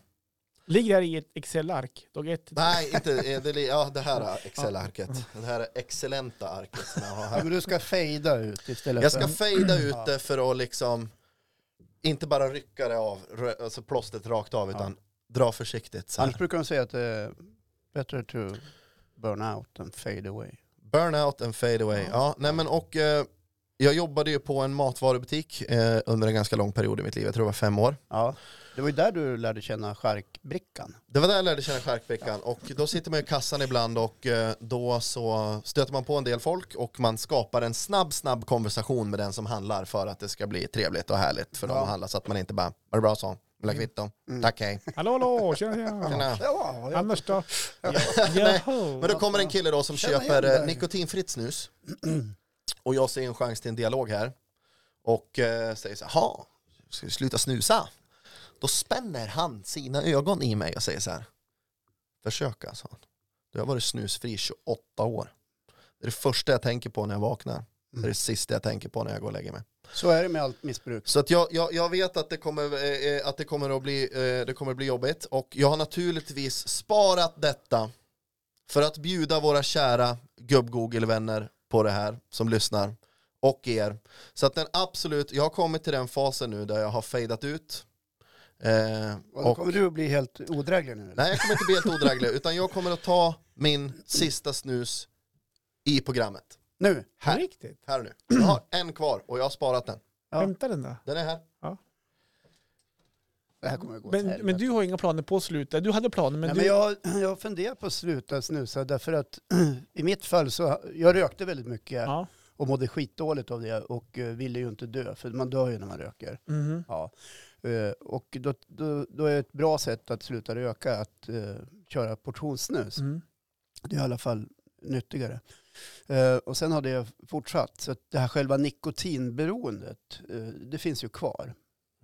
Ligger här i ett Excel-ark, dag ett.
Nej, inte, eh, det, li- ja, det här är Excel-arket. Det här är excellenta arket som jag har
Ja,
här.
men du ska fejda ut istället
Jag ska
för...
fejda ut det för att liksom inte bara rycka det av, rö- alltså plåstret rakt av, utan dra försiktigt. Så
Annars
här.
brukar de säga att det är better to burn out than fade away.
Burnout and fade away. Ja, nej men och eh, jag jobbade ju på en matvarubutik eh, under en ganska lång period i mitt liv, jag tror det var fem år.
Ja, det var ju där du lärde känna charkbrickan.
Det var där jag lärde känna charkbrickan och då sitter man i kassan ibland och eh, då så stöter man på en del folk och man skapar en snabb, snabb konversation med den som handlar för att det ska bli trevligt och härligt för dem
Ja. Mm.
att handla så att man inte bara, var det bra så? Vill du ha kvitto? Tack hej.
Hallå, hallå, tjena, tjena.
Tjena.
Ja,
Annars då?
Nej,
Jaha.
Men då kommer en kille då som
Känner igen
köper
det
eh,
här.
nikotinfritt snus. Och jag ser en chans till en dialog här. Och eh, säger så här, "Ha, ska vi sluta snusa? Då spänner han sina ögon i mig och säger så här. Försök alltså. Du har varit snusfri i 28 år. Det är det första jag tänker på när jag vaknar. Det är det sista jag tänker på när jag går och lägger mig.
så är det med allt missbruk.
Så att jag, jag, jag vet att det kommer, eh, eh, att det kommer att bli, eh, det kommer att bli jobbigt och jag har naturligtvis sparat detta för att bjuda våra kära gubb-Google-vänner på det här som lyssnar och er. Så att den absolut, jag har kommit till den fasen nu där jag har fejdat ut. Eh,
Och då kommer du att bli helt odräglig nu. eller?
Nej, jag kommer inte bli helt odräglig utan jag kommer att ta min sista snus i programmet.
Nu?
På Riktigt?
Här och nu. Jag har en kvar och jag har sparat den.
Ja.
Hämta den där.
Den är här.
Det här kommer att gå åt
Men,
helvete.
men du har inga planer på att sluta? Du hade planer, men
Nej,
du...
men jag, jag funderar på att sluta snusa därför att i mitt fall så, jag rökte väldigt mycket
Ja.
och mådde skitdåligt av det och eh, ville ju inte dö för man dör ju när man röker.
Mhm.
Ja. Eh, Och då, då, då är ett bra sätt att sluta röka att eh, köra portionssnus.
Mm.
Det är i alla fall nyttigare. Eh, och sen har det fortsatt. Så att det här själva nikotinberoendet, eh, det finns ju kvar.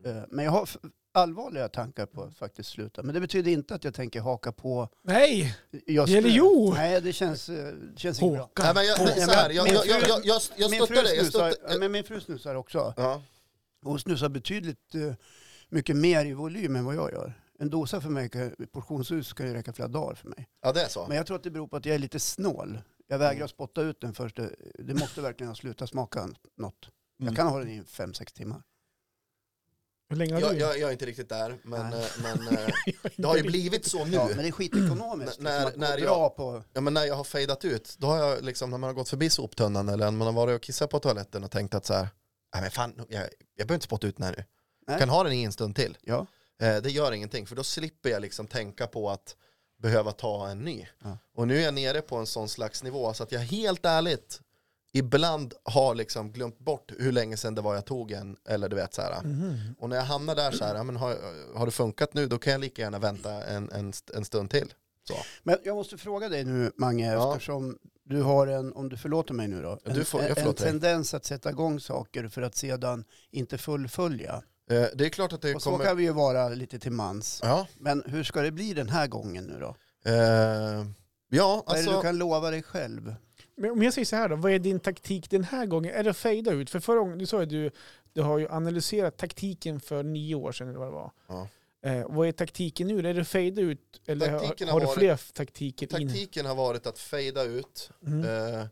Eh, men jag har f- allvarliga tankar på att faktiskt sluta. Men det betyder inte att jag tänker haka på.
Nej!
Just
Eller
nu.
jo!
Nej, det känns, eh, det känns inte bra.
Nej,
Håkan.
men jag,
Nej,
så
men-
här, jag,
min
jag, jag,
fru-
jag, jag
Min
stöttar
fru,
dig. Jag
snusar,
stöttar,
men min fru snusar också.
Ja.
Hon snusar betydligt eh, mycket mer i volym än vad jag gör. En dosa för mig, kan- portionshus kan ju räcka flera dagar för mig.
ja, det är så.
Men jag tror att det beror på att jag är lite snål. Jag
Mm.
vägrar spotta ut den först. Det- Det måste verkligen ha slutat smaka något.
Mm.
Jag kan ha den i fem sex timmar.
Hur länge har
Jag,
du?
jag, jag är inte riktigt där, men,
Nej.
eh, men eh, det har ju blivit så nu.
Ja, men det är skitekonomiskt.
N- när-
liksom, att
när
när
jag-
dra på...
Ja, men när jag har fejdat ut, då har jag liksom, när man har gått förbi soptunnan eller när man har varit och kissat på toaletten och tänkt att så här, nej men fan, jag, jag behöver inte spotta ut den här nu. Jag
Nej.
kan ha den i en stund till.
Ja.
Eh, det gör ingenting, för då slipper jag liksom tänka på att behöva ta en ny.
Ja.
Och nu är jag nere på en sån slags nivå så att jag helt ärligt ibland har liksom glömt bort hur länge sedan det var jag tog en, eller du vet så här.
Mhm.
Och när jag hamnar där så här, ja, men har, har det funkat nu, då kan jag lika gärna vänta en, en, st- en stund till. Så.
Men jag måste fråga dig nu, Mange,
Ja.
eftersom du har en, om du förlåter mig nu då,
Ja, du får- jag
en, en
förlåter dig.
tendens att sätta igång saker för att sedan inte fullfölja.
Eh, det är klart att det
Och så
kommer...
kan vi ju vara lite till mans.
Ja,
Men hur ska det bli den här gången nu då?
eh, ja
Vad är det
alltså...
du kan lova dig själv?
Men om jag säger så här då, vad är din taktik den här gången? Är det att fejda ut? För förra gången, du sa ju att du, du har ju analyserat taktiken för nio år sedan eller vad det var.
Ja.
Eh, vad är taktiken nu? Är det att fejda ut eller
Taktiken
har, har
har
du
varit-
fler taktiker in?
Taktiken har varit att fejda ut.
Mm.
Eh,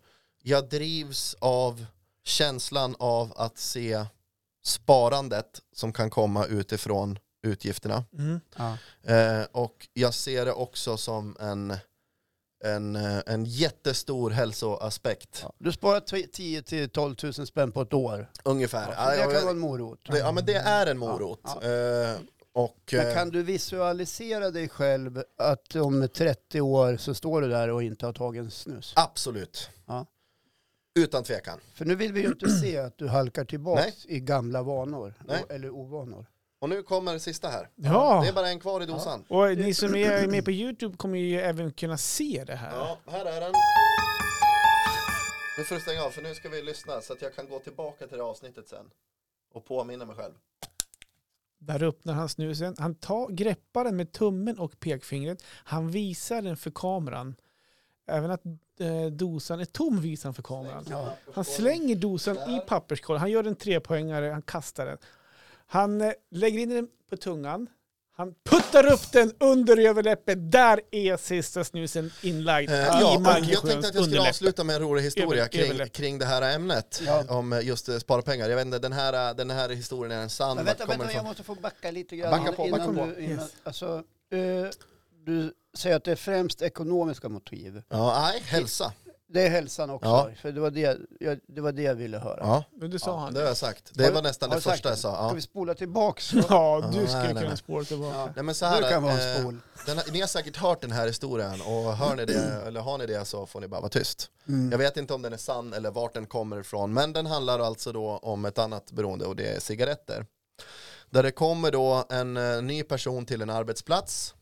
jag drivs av känslan av att se sparandet som kan komma utifrån utgifterna.
Mm.
Ja.
Eh, och jag ser det också som en, en, eh, en jättestor hälsoaspekt.
Du sparar 10 till 12 000 spänn på ett år.
Ungefär.
Ja,
Ja,
det kan
jag-
vara en morot.
det, ja, men det är en morot.
Ja,
Eh, och,
Men
eh,
kan du visualisera dig själv att om 30 år så står du där och inte har tagit en snus?
eh, Absolut.
Ja.
Utan tvekan.
För nu vill vi ju inte se att du halkar tillbaks i gamla vanor.
Nej.
o- Eller ovanor.
Och nu kommer det sista här.
Ja.
Ah.
Det är bara en kvar i dosan.
Och ni som är med på YouTube kommer ju även kunna se det här.
Ja, här är den. Nu får du stänga av för nu ska vi lyssna så att jag kan gå tillbaka till det avsnittet sen. Och påminna mig själv.
Där öppnar han snusen. Han tar, greppar den med tummen och pekfingret. Han visar den för kameran. Även att eh, dosan är tom visar han för kameran.
Ja.
Han slänger dosan i papperskorgen. Han gör en trepoängare, han kastar den. Han eh, lägger in den på tungan. Han puttar upp den under överläppen. Där är sista snusen inlagd.
Eh,
i
Ja, och jag
Maggesjöns
tänkte att jag skulle
underläpp.
avsluta med en rolig historia
Över-
kring,
överläpp.
kring det här ämnet. Om eh, just eh, spara pengar. Jag vet inte, den här, eh, den här historien är en sann.
Men
Vart
vänta,
kommer
vänta,
den
jag
ifrån?
måste få backa lite grann.
Backa på,
innan
backa på.
Du, innan,
Yes.
alltså, eh, du säger att det är främst ekonomiska motiv.
Ja, nej, hälsa.
Det är hälsan också.
Ja.
För det var det, jag, det var det jag ville höra.
Ja,
Men det sa
ja,
han.
det har jag sagt. Det
Har du-
var nästan
har
det
du sagt
första jag sa.
Ska
Ja.
vi spola tillbaks?
Ja,
Ja,
du skulle
nej, nej, nej.
kunna spåra tillbaka.
Ja.
Ja.
Nej, men så här,
Du kan vara en
eh,
spol.
Den här, ni har säkert hört den här historien och hör ni det, eller har ni det så får ni bara vara tyst.
Mm.
Jag vet inte om den är sann eller vart den kommer ifrån, men den handlar alltså då om ett annat beroende och det är cigaretter. Där det kommer då en eh, ny person till en arbetsplats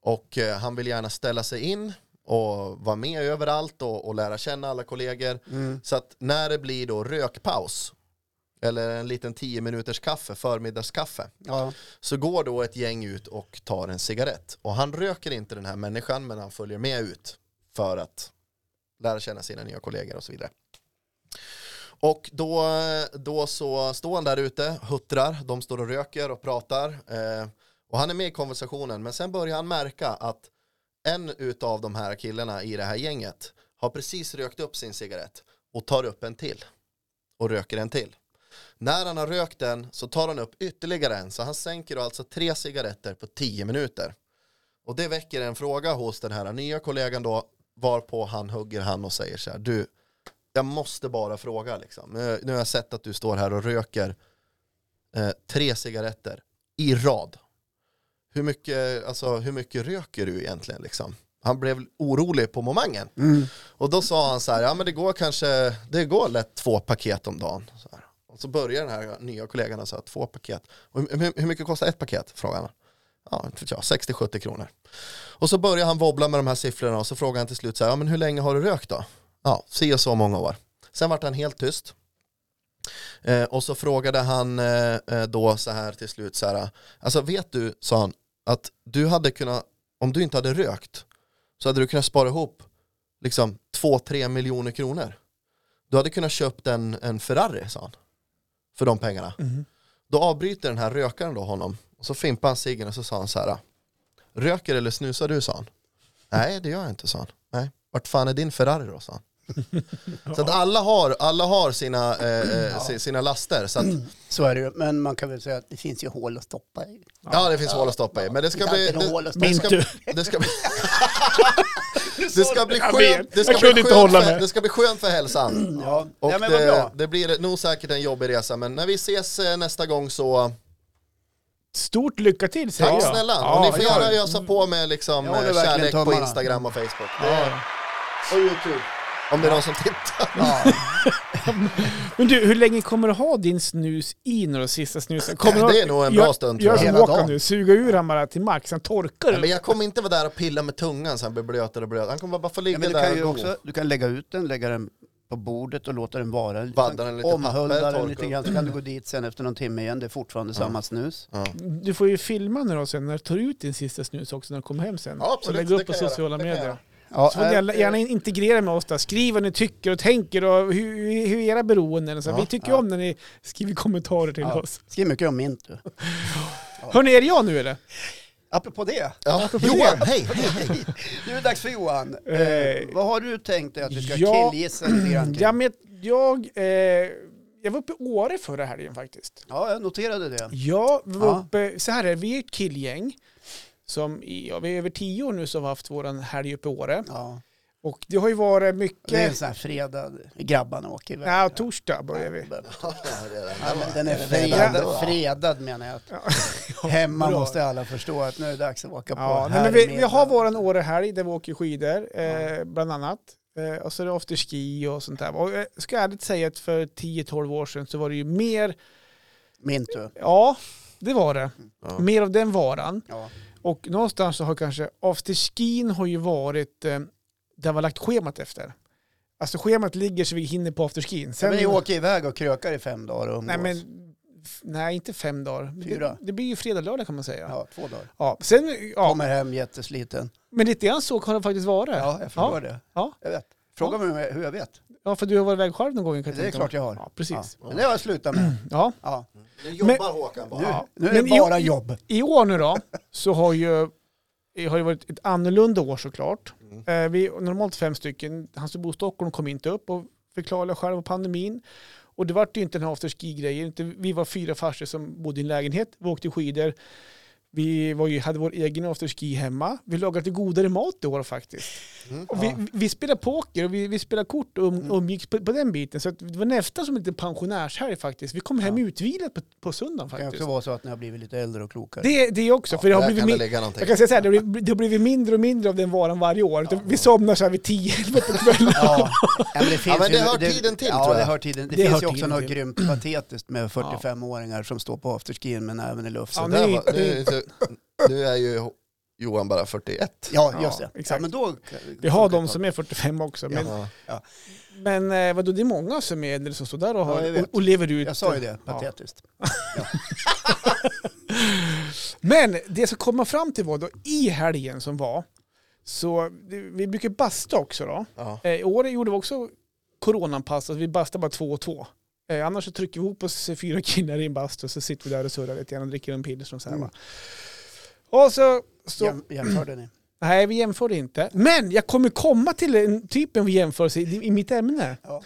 och eh, han vill gärna ställa sig in och vara med överallt och, och lära känna alla kollegor.
Mm.
Så att när det blir då rökpaus eller en liten 10 minuters kaffe, förmiddagskaffe,
Ja.
så går då ett gäng ut och tar en cigarett. Och han röker inte den här människan men han följer med ut för att lära känna sina nya kollegor och så vidare. Och då, då så står han där ute, huttrar, de står och röker och pratar. Eh, och han är med i konversationen men sen börjar han märka att en utav de här killarna i det här gänget har precis rökt upp sin cigarett och tar upp en till och röker en till. När han har rökt den så tar han upp ytterligare en så han sänker då alltså tre cigaretter på tio minuter. Och det väcker en fråga hos den här nya kollegan då varpå han hugger han och säger så här du jag måste bara fråga liksom. Nu, nu har jag sett att du står här och röker eh, tre cigaretter i rad. Hur mycket, alltså, hur mycket röker du egentligen liksom? Han blev orolig på momangen.
Mm.
Och då sa han så här, ja men det går kanske, det går lätt två paket om dagen. Så här. Och så börjar den här nya kollegan och sa två paket. Och hur, hur mycket kostar ett paket? Frågade han. Ja, inte vet jag, 60-70 kronor. Och så börjar han wobbla med de här siffrorna och så frågar han till slut så här, ja men hur länge har du rökt då? Ja, si och så många år. Sen vart han helt tyst. Eh, och så frågade han eh, eh, då så här till slut så här, alltså vet du, sa han, att du hade kunnat, om du inte hade rökt, så hade du kunnat spara ihop liksom 2-3 miljoner kronor. Du hade kunnat köpt en, en Ferrari, sa han, för de pengarna.
Mhm.
Då avbryter den här rökaren då honom, och så fimpade han ciggen och så sa han så här, röker eller snusar du, sa han. Nej, det gör jag inte, sa han. Nej, vart fan är din Ferrari då, sa han. Så att alla har, alla har sina, eh, eh, si- sina laster. Så att,
Så är det ju. Men man kan väl säga att det finns ju hål att stoppa i.
ja, det finns hål att stoppa i. Men det ska
Det
bli...
finns alltid
Det,
hål att stoppa
det
i.
Minns
ska,
du?
det ska bli... Det ska bli
Jag
skönt,
vet.
det ska
Jag
bli
kunde inte
skönt,
hålla
för,
mig.
det ska bli skönt för hälsan.
Ja,
Och
Nej, men vad
det,
bra.
det blir nog säkert en jobbig resa, men när vi ses eh, nästa gång så
Stort lycka till säger
tack
jag.
snälla.
Ja,
och ni får
jag-
gärna ösa på med liksom,
Jag håller
eh,
verkligen
kärlek på
tummarna.
Instagram och Facebook.
Ja.
Och YouTube. Om det är någon som tittar.
Ja.
Men du, hur länge kommer du ha din snus i när du sista snusen? Kommer du
Det är nog en bra stund, tror
Gör
jag.
som
Hela
Håkan
dagen.
nu, suga ur han bara till max, sen torkar
Nej, men
du.
jag kommer inte vara där och pilla med tungan så han blir blötare och blötare. Han kommer bara få
Ja,
ligga
men du,
där
kan
och
ju
go.
också, du kan lägga ut den, lägga den på bordet och låta den vara. Du
Vadda
kan
den lite
omhulda
papper,
den
torka
lite
upp
grann. Så kan du gå dit sen efter någon timme igen. Det är fortfarande samma snus.
Ja.
Du får ju filma nu då sen när du tar ut din sista snus också när du kommer hem sen.
Ja, absolut,
och lägga
det
upp på
kan jag
sociala
göra, det kan jag
medier.
göra. Eh,
Ja, eh,
Så får ni gärna- gärna integrera med oss där. Skriv vad ni tycker och tänker och hur, hur era beroenden och så.
Ja,
Vi tycker ju om när ni skriver kommentarer till
Ja.
oss.
Skriv mycket om mint du.
Hörni, är det jag nu eller?
Apropå det.
Ja. Johan, hej!
nu är det dags för Johan.
Eh,
Vad har du tänkt dig att vi ska
ja.
killgissa lite grann kring?
Ja, men jag, eh, jag var uppe i Åre förra helgen faktiskt.
Ja, jag noterade det.
Ja, vi var
Ja.
uppe, så här är det, vi är ett killgäng. Som i, ja, vi är över tio år nu som har haft våran helg uppe i Åre.
Ja.
Och det har ju varit
Det är en
mycket...
sån här fredag, grabbarna åker iväg.
Ja, torsdag börjar vi.
Ja, men den är
Fredag då.
fredad, fredad menar jag. Hemma
bra.
måste alla förstå att nu är det dags att åka på
Ja, nej, men vi, vi har våran Årehelg där vi åker skidor, eh, bland annat. Eh, och så är det afterski och sånt där. Och jag ska ärligt säga att för 10-12 år sedan så var det ju mer,
Mintu.
ja, det var det.
Ja.
Mer av den varan.
Ja.
Och någonstans så har kanske afterskin har ju varit eh, där vi har lagt schemat efter. Alltså schemat ligger så vi hinner på afterskin.
Sen vi åker iväg och krökar i fem dagar och umgås.
nej, men, f- nej, inte fem dagar.
Fyra.
Det, det blir ju fredag, lördag kan man säga. Ja.
Ja, två dagar.
Sen, ja,
Kommer hem jättesliten.
men lite grann så kan det faktiskt vara.
Ja, jag förstår det.
Ja.
Jag vet. Fråga mig hur jag vet.
Ja, för du har varit iväg själv någon gång. Kan jag
Det är
tänka
klart
mig.
jag har.
Ja, precis.
Ja. Men det har jag slutat med.
Ja.
Ja.
Nu
jobbar Men-
Håkan
Nu,
Ja.
nu är det
Men i-
bara jobb.
I år nu då, så har ju det har ju varit ett annorlunda år såklart.
Mm.
Eh, vi är normalt fem stycken. Han som bor i Stockholm kom inte upp och förklarade själv om pandemin. Och det vart ju inte den här afterski-grejen. Inte- Vi var fyra farsor som bodde i en lägenhet. Vi åkte skidor. Vi var ju, hade vår egen afterski hemma. Vi lagade lite godare mat i år faktiskt.
Mm.
Och vi, vi spelade poker och vi, vi spelade kort och um, umgicks på, på den biten. Så att det var nästan som lite pensionärshelg faktiskt. Vi kom hem
Ja.
utvilade på, på söndagen
Det kan
faktiskt.
också vara så att ni har blivit lite äldre och klokare.
Det, det också, för det har
Där
blivit
kan det
mer,
ligga någonting.
jag kan säga så här, det har blivit, det har blivit mindre och mindre av den varan varje år. Vi somnar så här vid 10 11 på kvällen.
Ja, Ja, men det, finns
Ja, men det
ju-
hör tiden till,
ja,
tror jag.
Det, hör tiden. det,
Det
finns
hör
ju också
tiden
något
till.
grymt patetiskt med 45-åringar som står på afterskin med näven i
Ja,
lufsen. Ja,
men-
Där
nu-
var- nu- så- Nu är ju Johan bara 41.
just det.
Ja,
Ja,
exakt.
men då,
Vi har de som är 45 också. Men,
Ja.
men eh, vadå, det är många som är äldre som står där och, har,
Ja, jag vet.
och, och lever ut. eh,
Jag sa ju det, patetiskt.
Men det som kommer fram till var då i helgen som var, så det- vi brukar basta också då.
Ja.
Eh, I år gjorde vi också coronanpass, alltså vi bastade bara två och två. Eh, annars så trycker vi ihop oss fyra killar i en bastu och så sitter vi där och surrar lite grann och dricker en pilsner och så här
Mm.
va. Och så, så
Jäm, jämförde ni?
nej vi jämförde inte. Men jag kommer komma till en typen av jämförelse i, i mitt ämne.
Ja.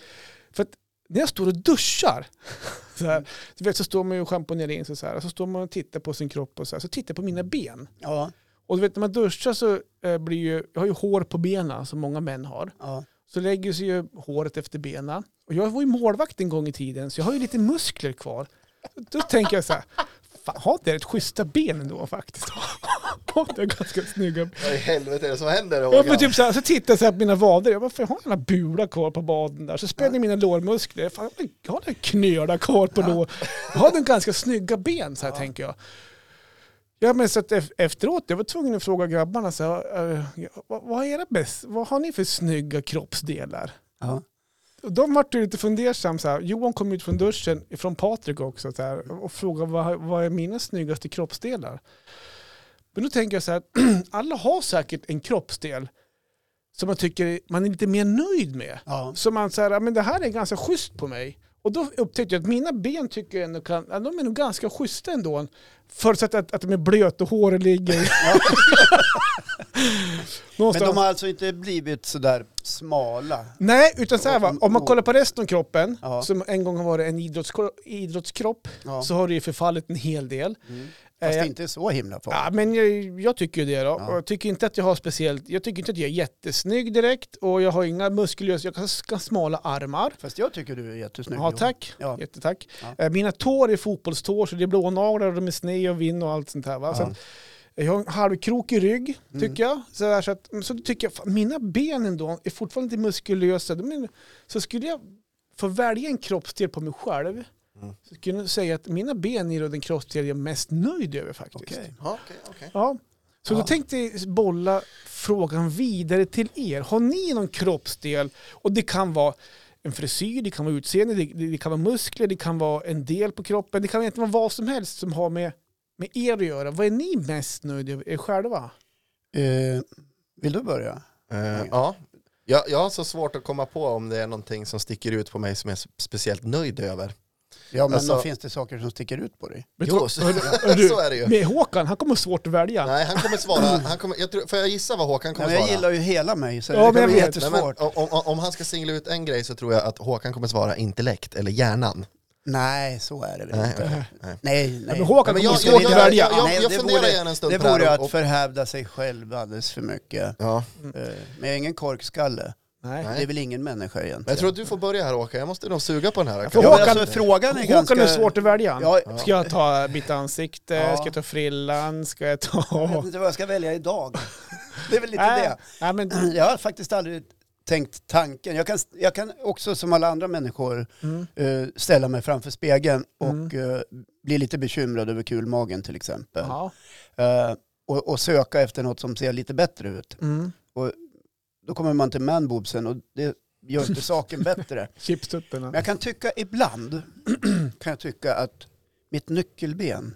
För att när jag står och duschar, så, här, du vet, så står man ju och schamponerar in sig så här, och så står man och tittar på sin kropp och så här, så tittar jag på mina ben.
Ja,
Och du vet när man duschar så eh, blir ju, jag har ju hår på benen som många män har.
ja.
Så lägger sig ju håret efter benen. Och jag var ju målvakt en gång i tiden, så jag har ju lite muskler kvar. Då tänker jag så här, fan har inte jag rätt schyssta ben ändå faktiskt? Har inte jag ganska snygga
Vad i helvete är det som händer
Ja, men
Håkan?
typ så, här, så tittar jag så här på mina vader, jag bara, "Fan, jag har några bula kvar på baden där. Så spänner jag mina lårmuskler, fan, jag har några knölar kvar på lår. Jag har en ganska snygga ben så här tänker jag. Ja men så att ef- efteråt, jag var tvungen att fråga grabbarna så här, "Eh, ja, vad, vad är era bäst, vad har ni för snygga kroppsdelar?
ja.
Och de vart ju lite fundersam så här. Johan kom ut från duschen, från Patrik också, så här, och frågade vad, vad är mina snyggaste kroppsdelar? Men då tänker jag så här, alla har säkert en kroppsdel som man tycker man är lite mer nöjd med.
ja.
Som man säger, men det här är ganska schysst på mig. Och då upptäckte jag att mina ben tycker jag ändå kan, ja, de är nog ganska schyssta ändå. Förutsatt att, att de är blöta och håret ligger.
Men de har alltså inte blivit sådär smala?
Nej, utan så här va. Om man kollar på resten av kroppen,
Ja.
som en gång har varit en idrottskro- idrottskropp,
Ja. Mm.
så har det ju förfallit en hel del.
Fast
Eh,
inte så himla farligt.
Ja, men jag, jag tycker ju det då.
Ja.
Och jag tycker inte att jag har speciellt, jag tycker inte att jag är jättesnygg direkt och jag har inga muskulösa, jag har ganska smala armar.
Fast jag tycker du är jättesnygg.
Ja,
Johan.
tack.
Ja.
Jättetack.
Ja.
Eh, Mina tår är fotbollstår, så det är blånaglar och de är sne och vinn och allt sånt här. Va? Så
Ja.
att eh, jag har en halvkrokig rygg, tycker
Mm.
jag. Så, där, så, att, så tycker jag, fan, mina ben ändå är fortfarande inte muskulösa. De är, så skulle jag få välja en kroppsdel på mig själv,
Mm.
så skulle jag säga att mina ben är då den kroppsdel jag är mest nöjd över faktiskt.
Okej.
Ja, okej, okej.
Ja. Så
Ja.
då tänkte jag bolla frågan vidare till er. Har ni någon kroppsdel? Och det kan vara en frisyr, det kan vara utseende, det, det kan vara muskler, det kan vara en del på kroppen. Det kan egentligen vara vad som helst som har med, med er att göra. Vad är ni mest nöjda med er själva?
Eh, vill du börja?
Eh, ja. Jag, jag har så svårt att komma på om det är någonting som sticker ut på mig som jag är speciellt nöjd över.
Ja, men
Alltså-
då finns det saker som sticker ut på dig.
Vet du
Jo,
vad?
så,
Hör du,
så är det ju.
Med Håkan, han kommer svårt att välja.
Nej, han kommer svara. Han kommer, jag tror, får jag gissa vad Håkan
Ja,
kommer
men jag
svara?
gillar ju hela mig, så
Ja,
det
men
kan
jag
bli
vet.
Nej,
jättesvårt.
men om, om, om han ska singla ut en grej så tror jag att Håkan kommer svara intellekt eller hjärnan.
Nej, så är det väl
Nej,
inte.
Nej.
nej.
Nej, nej.
Men Håkan
Men
kommer
jag,
svårt
jag,
att
jag,
välja.
jag, jag,
Nej,
jag,
det
funderar
vore-
gärna en stund
Det
på det här.
vore
och-
att
och-
förhävda sig själv alldeles för mycket.
Ja.
Eh, Men jag är ingen korkskalle.
Mm. Nej.
Nej.
Det är väl ingen människa egentligen.
Men jag tror att du får börja här Håkan, jag måste nog suga på den här.
får-
ja,
Håkan-
men alltså, frågan är
Håkan
ganska...
är svårt att välja.
Ja,
Ska jag ta mitt ansikte?
Ja.
Ska jag ta frillan? Ska jag ta...
Jag vet inte vad jag ska välja idag. Det är väl lite
Nej.
det.
Nej, men...
Jag har faktiskt aldrig tänkt tanken. Jag kan, jag kan också som alla andra människor
mm.
eh, ställa mig framför spegeln och
Mm.
eh, bli lite bekymrad över kulmagen till exempel.
Ja.
Eh, och, och söka efter något som ser lite bättre ut.
Mm.
Då kommer man till manboobsen och det gör inte saken bättre. Men
Chipstuttarna.
jag kan tycka ibland, kan jag tycka att mitt nyckelben,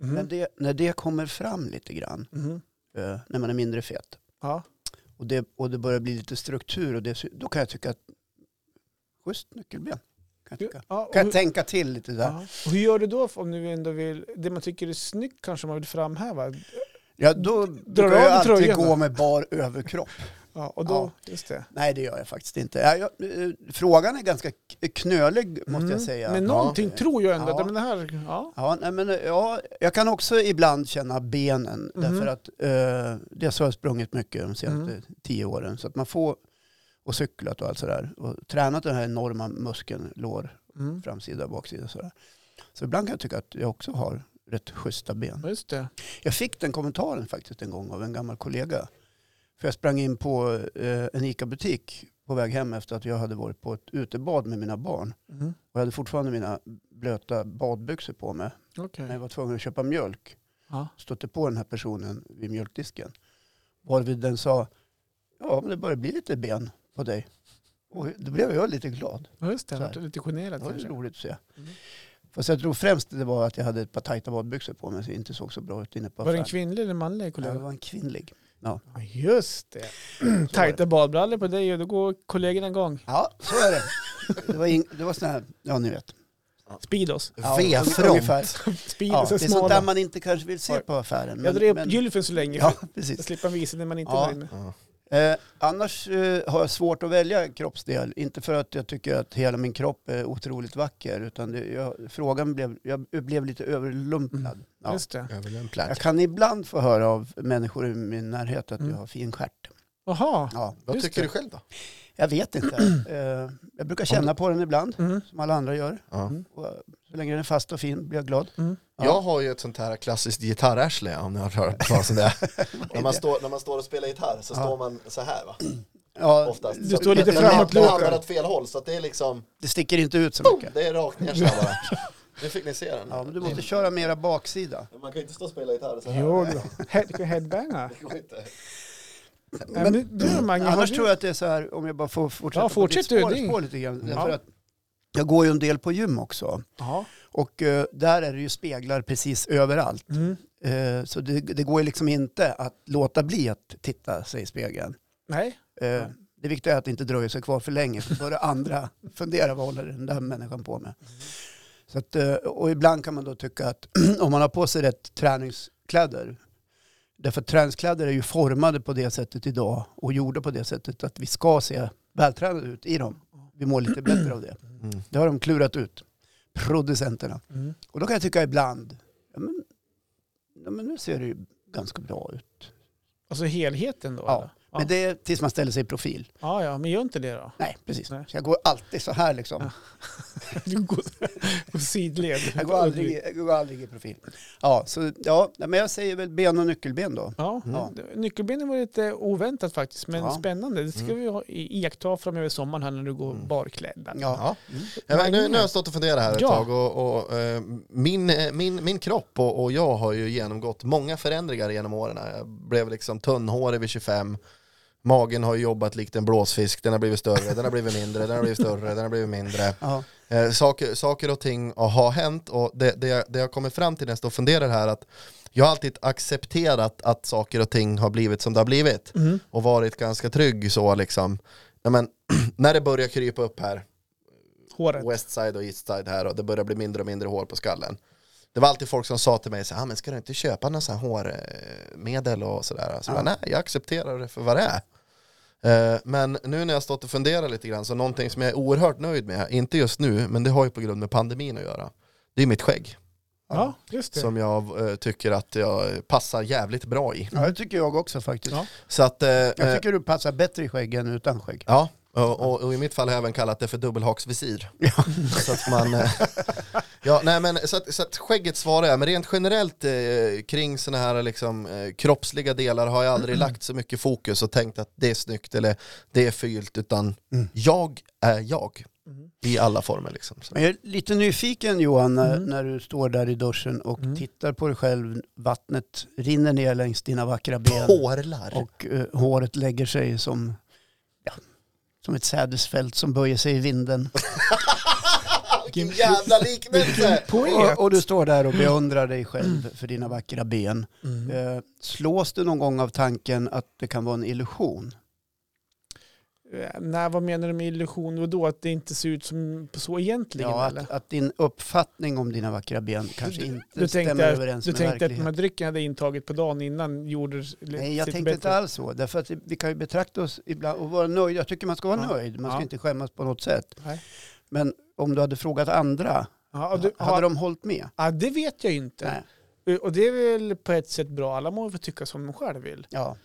när,
Mm.
det, när det kommer fram lite grann,
Mm.
eh, när man är mindre fet,
Ja.
och det, och det börjar bli lite struktur och det, då kan jag tycka att schysst nyckelben. Kan jag, tycka.
Ja, och
Kan
hur-
jag tänka till lite där.
Ja. Och Hur gör du då om du ändå vill, det man tycker är snyggt kanske man vill framhäva?
Ja, då brukar
av
jag alltid
tröjan då?
gå med bar överkropp.
Ja, och då, just det.
Nej, det gör jag faktiskt inte. Ja, jag, eh, frågan är ganska k- knölig, måste
Mm.
jag säga.
Men
Ja.
någonting tror jag ändå,
Ja.
men det här, ja.
Ja, nej, men, eh, ja, jag kan också ibland känna benen.
Mhm.
Därför att eh, dels har jag sprungit mycket de senaste
Mm.
tio åren. Så att man får, och cyklat och allt sådär. Och tränat den här enorma muskeln, lår,
Mm.
framsida och baksida. och Sådär. Så ibland kan jag tycka att jag också har rätt schyssta ben.
Ja, Just det.
Jag fick den kommentaren faktiskt en gång av en gammal kollega. För jag sprang in på eh, en ICA-butik på väg hem efter att jag hade varit på ett utebad med mina barn.
Mm.
Och jag hade fortfarande mina blöta badbyxor på mig.
Okej.
Men jag var tvungen att köpa mjölk.
Ja.
Stötte på den här personen vid mjölkdisken. Varvid den sa, ja men det börjar bli lite ben på dig. Och då blev jag lite glad.
Ja, Just det,
Så
jag
här.
vart lite
Det
generad
var ju
kanske.
roligt att se.
Mm.
Fast jag tror främst det var att jag hade ett par tajta badbyxor på mig så det inte såg så bra ut inne på
Var det en
affären.
kvinnlig eller manlig
Ja, det
kollega?
var en kvinnlig.
Ja, Just det.
Så var det.
Tajta badbrallor på dig och då går kollegorna igång.
Ja, så är det. Det var, in, det var sån här, ja ni vet.
Speedos.
Ja,
V-front.
ungefär. Ja,
Speedos
det
är
är sånt där
smala.
man inte kanske vill se på affären.
Jag
men-
drev
men-
gylfen så länge
Ja,
för att
precis.
slippa visa när man inte
Ja.
är där inne.
Ja.
Eh, annars eh, har jag svårt att välja kroppsdel. Inte för att jag tycker att hela min kropp är otroligt vacker. Utan det, jag, frågan blev, jag blev lite överlumpad. Ja.
Mm. Just det.
Jag
Överlämplank.
kan ibland få höra av människor i min närhet att
Mm.
jag har fin stjärt.
Jaha.
Ja,
Vad
Just
tycker
det.
du själv då?
jag vet inte. eh, jag brukar känna på den ibland,
Mm.
som alla andra gör.
Ja.
Och, eh, så länge den är fast och fin blir jag glad.
Mm.
Ja.
Jag har ju ett sånt här klassiskt gitarrärsle om ni har hört talas om det. när, man
det?
står, när man står och spelar gitarr så
Ja.
står man så här va?
Ja,
Oftast.
Du
Så
står lite
det-
framåt,
Det hamnar
Luka.
åt fel håll så att det är liksom,
Det sticker inte ut
Oh!
så mycket.
det är rakt ner så här bara. Nu fick ni se den.
Ja, men du
Mm.
måste köra mera baksida.
Man kan ju inte stå och spela gitarr så här.
Jo, då. Head, du kan headbanga.
Det går inte.
Nej, Men du Mange, har
Annars
du-
tror jag att det är så här, om jag bara får fortsätta
Ja, fortsätt
på ditt
du,
spår,
det är-
spår lite grann.
Ja.
Därför att jag går ju en del på gym också.
Ja.
Och eh, där är det ju speglar precis överallt.
Mm.
Eh, så det, det går ju liksom inte att låta bli att titta sig i spegeln.
Nej.
Eh, det viktiga är att inte dröja sig kvar för länge. För börjar andra fundera, vad håller den där människan på
Mm.
med? Så att, eh, och ibland kan man då tycka att om man har på sig rätt träningskläder, därför att träningskläder är ju formade på det sättet idag och gjorda på det sättet att vi ska se vältränade ut i dem.
Mm.
Vi mår lite bättre av det.
Mm.
Det har de klurat ut, producenterna.
Mm.
Och då kan jag tycka ibland, ja men, ja, men nu ser det ju ganska bra ut.
Alltså helheten då?
Ja,
eller? Ja.
Men det är tills man ställer sig i profil.
ja, ja, men gör inte det då.
Nej, precis.
Nej.
Så jag går alltid så här liksom.
Ja. Du går, går sidled.
Jag går aldrig, i- jag går aldrig i profil. Ja, så, ja, nej, men jag säger väl ben och nyckelben då.
Ja,
Ja.
det- nyckelbenen var lite oväntat faktiskt, men
Mm. Ja.
spännande. Det ska
Mm.
vi ha, i- iaktta framöver sommaren här när du går
Mm.
barklädd.
Ja.
Ja. Ja, men nu, nu har jag stått och funderat här ett
Mm. Ja.
tag och, och eh, min, eh, min, min kropp och, och jag har ju genomgått många förändringar genom åren. Jag blev liksom tunnhårig vid 25, magen har ju jobbat likt en blåsfisk, den har blivit större, den har blivit mindre, den har blivit större, den har blivit mindre.
Ja.
Eh, saker, saker och ting har hänt och det, det, jag, det jag kommer fram till när jag står och funderar här att jag har alltid accepterat att saker och ting har blivit som det har blivit
Mm.
och varit ganska trygg så liksom. Ja, men, när det börjar krypa upp här
Håret.
Westside och Eastside här och det börjar bli mindre och mindre hår på skallen. Det var alltid folk som sa till mig så här, ah, men ska du inte köpa någon sån här hårmedel och sådär? Så
Ja.
bara, nej, jag accepterar det för vad det är. Eh, Men nu när jag stått och funderat lite grann så någonting som jag är oerhört nöjd med, inte just nu, men det har ju på grund med pandemin att göra. Det är mitt skägg
Ja, just det.
som jag eh, tycker att jag passar jävligt bra i.
ja, det tycker jag också faktiskt.
Ja.
Så att, eh,
Jag
eh,
tycker du passar bättre i skägg än utan skägg.
ja, och, och, och i mitt fall har jag även kallat det för dubbelhaksvisir. så att man... eh, Ja, nej men så att, så att skägget svarar jag, men rent generellt eh, kring sådana här liksom, eh, kroppsliga delar har jag
Mm.
aldrig lagt så mycket fokus och tänkt att det är snyggt eller det är fyllt, utan
Mm.
jag är jag
Mm.
i alla former liksom. Så.
Men jag är lite nyfiken Johan, när,
Mm.
när du står där i duschen och
Mm.
tittar på dig själv. Vattnet rinner ner längs dina vackra
Mm.
ben
Pårlar.
och eh, håret lägger sig som, ja, som ett sädesfält som böjer sig i vinden.
Vilken jävla liknelse!
Poet.
Och, och du står där och beundrar dig själv för dina vackra ben.
Mm.
Eh, slås du någon gång av tanken att det kan vara en illusion?
Eh, Nej, vad menar du med illusion? Och då att det inte ser ut som så egentligen?
Ja,
eller?
att, att din uppfattning om dina vackra ben kanske inte
Du
stämmer
tänkte, att-
överens
du
med
tänkte att de
verkligheten.
här drycken jag hade intagit på dagen innan gjorde det lite
Nej, jag
sitt
tänkte
bättre.
inte alls så. Därför att vi kan ju betrakta oss ibland och vara nöjda. Jag tycker man ska vara
Ja.
nöjd. Man ska
Ja.
inte skämmas på något sätt.
Nej.
Men om du hade frågat andra,
Ja, och du,
hade
ja,
de hållit med?
ja, det vet jag inte.
Nej.
Och det är väl på ett sätt bra. Alla må väl tycka som de själv vill.
Ja.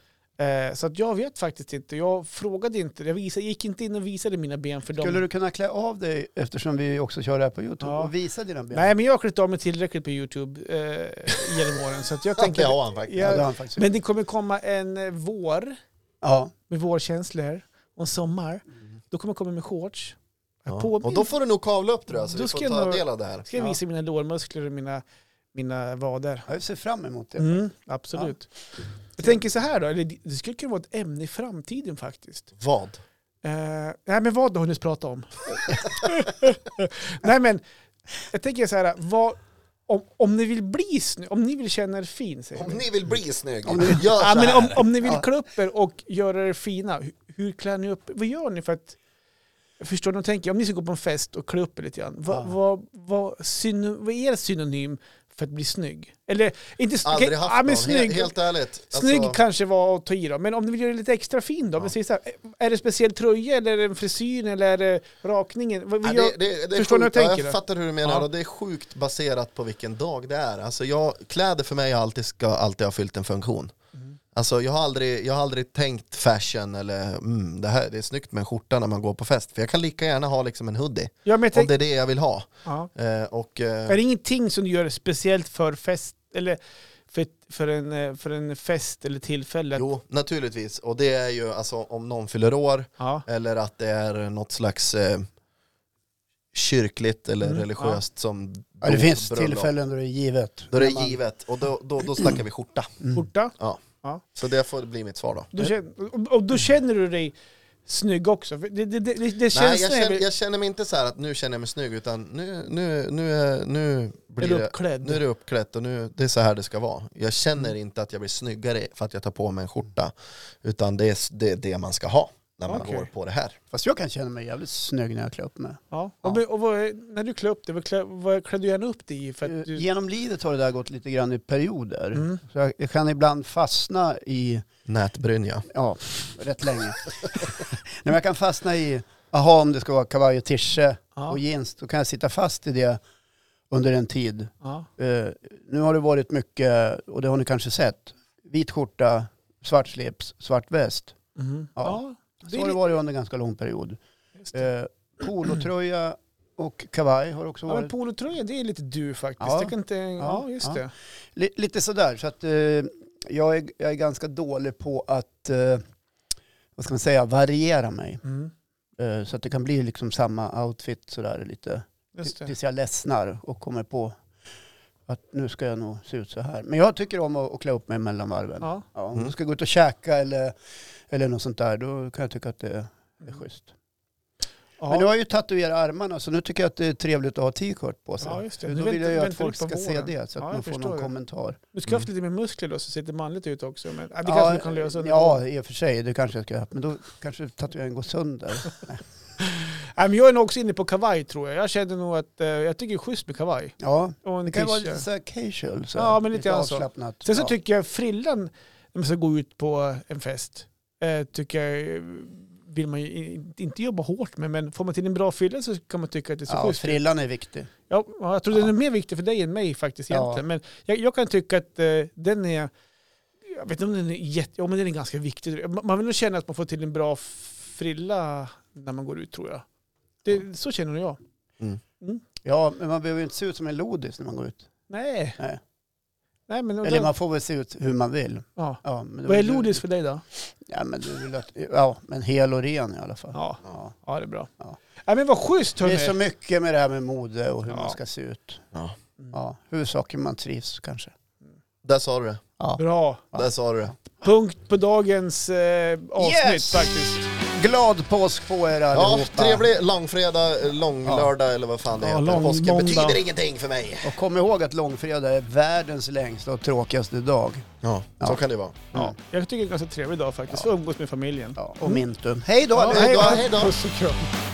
Eh, så att jag vet faktiskt inte. Jag frågade inte. Jag visade, gick inte in och visade mina ben för
Skulle
dem.
du kunna klä av dig, eftersom vi också kör det här på YouTube,
Ja.
och visa dina ben?
Nej, men jag har klätt av mig tillräckligt på YouTube eh, genom åren. Så att jag tänker...
det har han faktiskt.
Ja, det har
jag,
han faktiskt.
men det kommer komma en eh, vår
ja.
med vårkänslor och en sommar. Då kommer jag komma med shorts.
Ja.
På
Och
min-
då får du nog kavla upp tror jag, så
Då
vi
ska
får
jag
ta
nog-
del av det här.
ska jag visa mina lårmuskler och mina, mina vader.
Jag ser fram emot det.
Mm, absolut. Jag tänker så här då, eller det det skulle kunna vara ett ämne i framtiden faktiskt.
Vad?
Eh, nej men vad har du nyss pratat om? nej men, jag tänker så här, vad, om, om ni vill bli snygg, om ni vill känna er fin säger
Om
vi.
ni vill bli snygg, gör
Ja,
så
men
här.
om, om ni vill
Ja.
klä upp er och göra er fina, hur, hur klär ni upp Vad gör ni för att... Jag förstår vad de tänker. Om ni ska gå på en fest och klä upp er lite grann, vad,
Ja.
vad, vad, syno, vad är synonym för att bli snygg? Eller inte sn-
Aldrig
okej,
haft
ja,
någon,
men snygg,
He- helt ärligt. alltså,
snygg kanske var att ta i då, men om ni vill göra det lite extra fin då? om vi säger så här, är det speciell tröja eller är det en frisyr eller är det rakningen? Vad, vad
Nej,
gör,
det, det, det är
förstår ni
sjukt.
vad jag
Ja,
tänker?
Jag fattar hur du menar
Ja.
och det är sjukt baserat på vilken dag det är. Alltså jag, kläder för mig har alltid, ska alltid ha fyllt en funktion. Alltså jag har, aldrig, jag har aldrig tänkt fashion eller mm, det, här, det är snyggt med en skjorta när man går på fest. För jag kan lika gärna ha liksom en hoodie.
ja, men jag
Om
tänk,
det är det jag vill ha.
ja.
Eh, och, eh,
Är det ingenting som du gör speciellt för fest eller för, för, en, eh, för en fest eller tillfälle?
jo, naturligtvis. Och det är ju alltså om någon fyller år
Ja.
eller att det är något slags eh, kyrkligt eller
Mm,
religiöst som
Ja, det
dop,
finns
bröllop.
tillfällen då det är givet.
Då är det
När man-
givet och då, då, då snackar vi skjorta.
Skjorta.
Så det får bli mitt svar då.
Då känner, och- och då känner du dig snygg också. För Det, det, det, det, det
Nej,
känns
jag
när jag
känner,
blir
jag känner mig inte så här att nu känner jag mig snygg utan nu, nu, nu, är- nu blir
är du
det
uppklädd.
nu är det uppklätt och nu, det är så här det ska vara. Jag känner inte att jag blir snyggare för att jag tar på mig en skjorta. Utan det är s- det, är det man ska ha när man
Okej.
går på det här.
Fast jag kan känna mig jävligt snygg när jag klär upp mig.
ja. Och, men- och vad, är- när du klär upp dig, vad klär, vad klär du gärna upp dig i? För
Eh,
att du,
Eh, Genom livet har det där gått lite grann i perioder.
mm.
Så jag, jag kan ibland fastna i,
Nätbrynja.
ja, rätt länge. Nej, men jag kan fastna i, aha om det ska vara kavaj och tische
ja.
och jeans, då kan jag sitta fast i det under en tid.
Ja.
Eh, nu har det varit mycket, och det har ni kanske sett, vit skjorta, svart slips, svart väst.
Mm. ja.
Ja.
Det
Så
är
har det
lite-
varit under en ganska lång period.
just det.
Eh, polotröja och kavaj har också
Ja, men
varit.
polotröja, det är lite du faktiskt.
Ja.
Jag kan inte, ja, just
Ja.
det.
Li- lite sådär, så att eh, jag, är, jag är ganska dålig på att, eh, vad ska man säga, variera mig.
Mm.
Eh, så att det kan bli liksom samma outfit sådär lite,
Just det.
tills jag ledsnar och kommer på att nu ska jag nog se ut så här. Men jag tycker om att, att klä upp mig mellan varven.
Ja.
Ja, om
Mm.
du ska gå ut och käka eller, eller något sånt där, då kan jag tycka att det är schysst. Men du
Mm. Ja.
har ju tatuerat armarna, så nu tycker jag att det är trevligt att ha t-shirt på sig.
Ja, just det.
Då
Du
vill
väntar-
jag ju att
väntar
folk
du på
ska se
våren.
det, så att
Ja, jag
man får
förstår
någon
det.
kommentar.
Du ska ha haft lite mer muskler då, så ser det manligt ut också. Men, ja, det
ja,
kanske du kan lösa under våren.
Ja, i och för sig, det kanske jag ska göra. Men då kanske tatueringen går sönder.
Nej, men jag är nog också inne på kavaj tror jag. Jag känner nog att eh, jag tycker det är schysst med kavaj.
Ja,
Och en
det kan ju vara
t-shirt.
lite så här casual. Så
Ja,
här,
men lite grann så.
avslappnat.
Sen så
ja.
tycker jag frillan, när man ska gå ut på en fest, eh, tycker jag eh, vill man ju i- inte jobba hårt med, men får man till en bra fylla så kan man tycka att det är så
Ja,
schysst.
frillan är viktig.
Ja, ja, jag tror den är
Ja.
mer viktig för dig än mig faktiskt
Ja.
egentligen. Men jag, jag kan tycka att eh, den är, jag vet inte om den är jätte, ja, men den är ganska viktig. Man, man vill nog känna att man får till en bra frilla när man går ut tror jag. Det, så känner nog jag.
Ja, men man behöver ju inte se ut som en lodis när man går ut.
Nej.
Nej.
Nej men, och
Eller
den-
man får väl se ut hur man vill.
ja.
Ja, men då
Vad är
vill du-
lodis för dig då?
Ja, men du vill att... Ja, men hel och ren i alla fall.
Ja,
Ja.
ja det är bra.
Ja.
Nej men vad schysst
Det
hörni.
är så mycket med det här med mode och hur
Ja.
man ska se ut.
Ja.
Ja, huvudsaken man trivs kanske.
Där sa du det.
Ja.
Bra.
Ja.
Där sa du det.
Punkt på dagens eh, avsnitt
Yes!
faktiskt.
Glad påsk på er
Ja,
allihopa.
trevlig långfredag, eh, långlördag eller vad fan det
Ja,
heter.
lång
Påsken
måndag.
betyder ingenting för mig.
Och kom ihåg att långfredag är världens längsta och tråkigaste dag.
Ja, så kan det vara.
Ja.
Mm.
Jag tycker det är en ganska trevlig dag faktiskt. Få umgås med familjen.
Ja, och mintum. Hej då!
Ja,
allihopa.
hej då, hej då.
Puss och kram.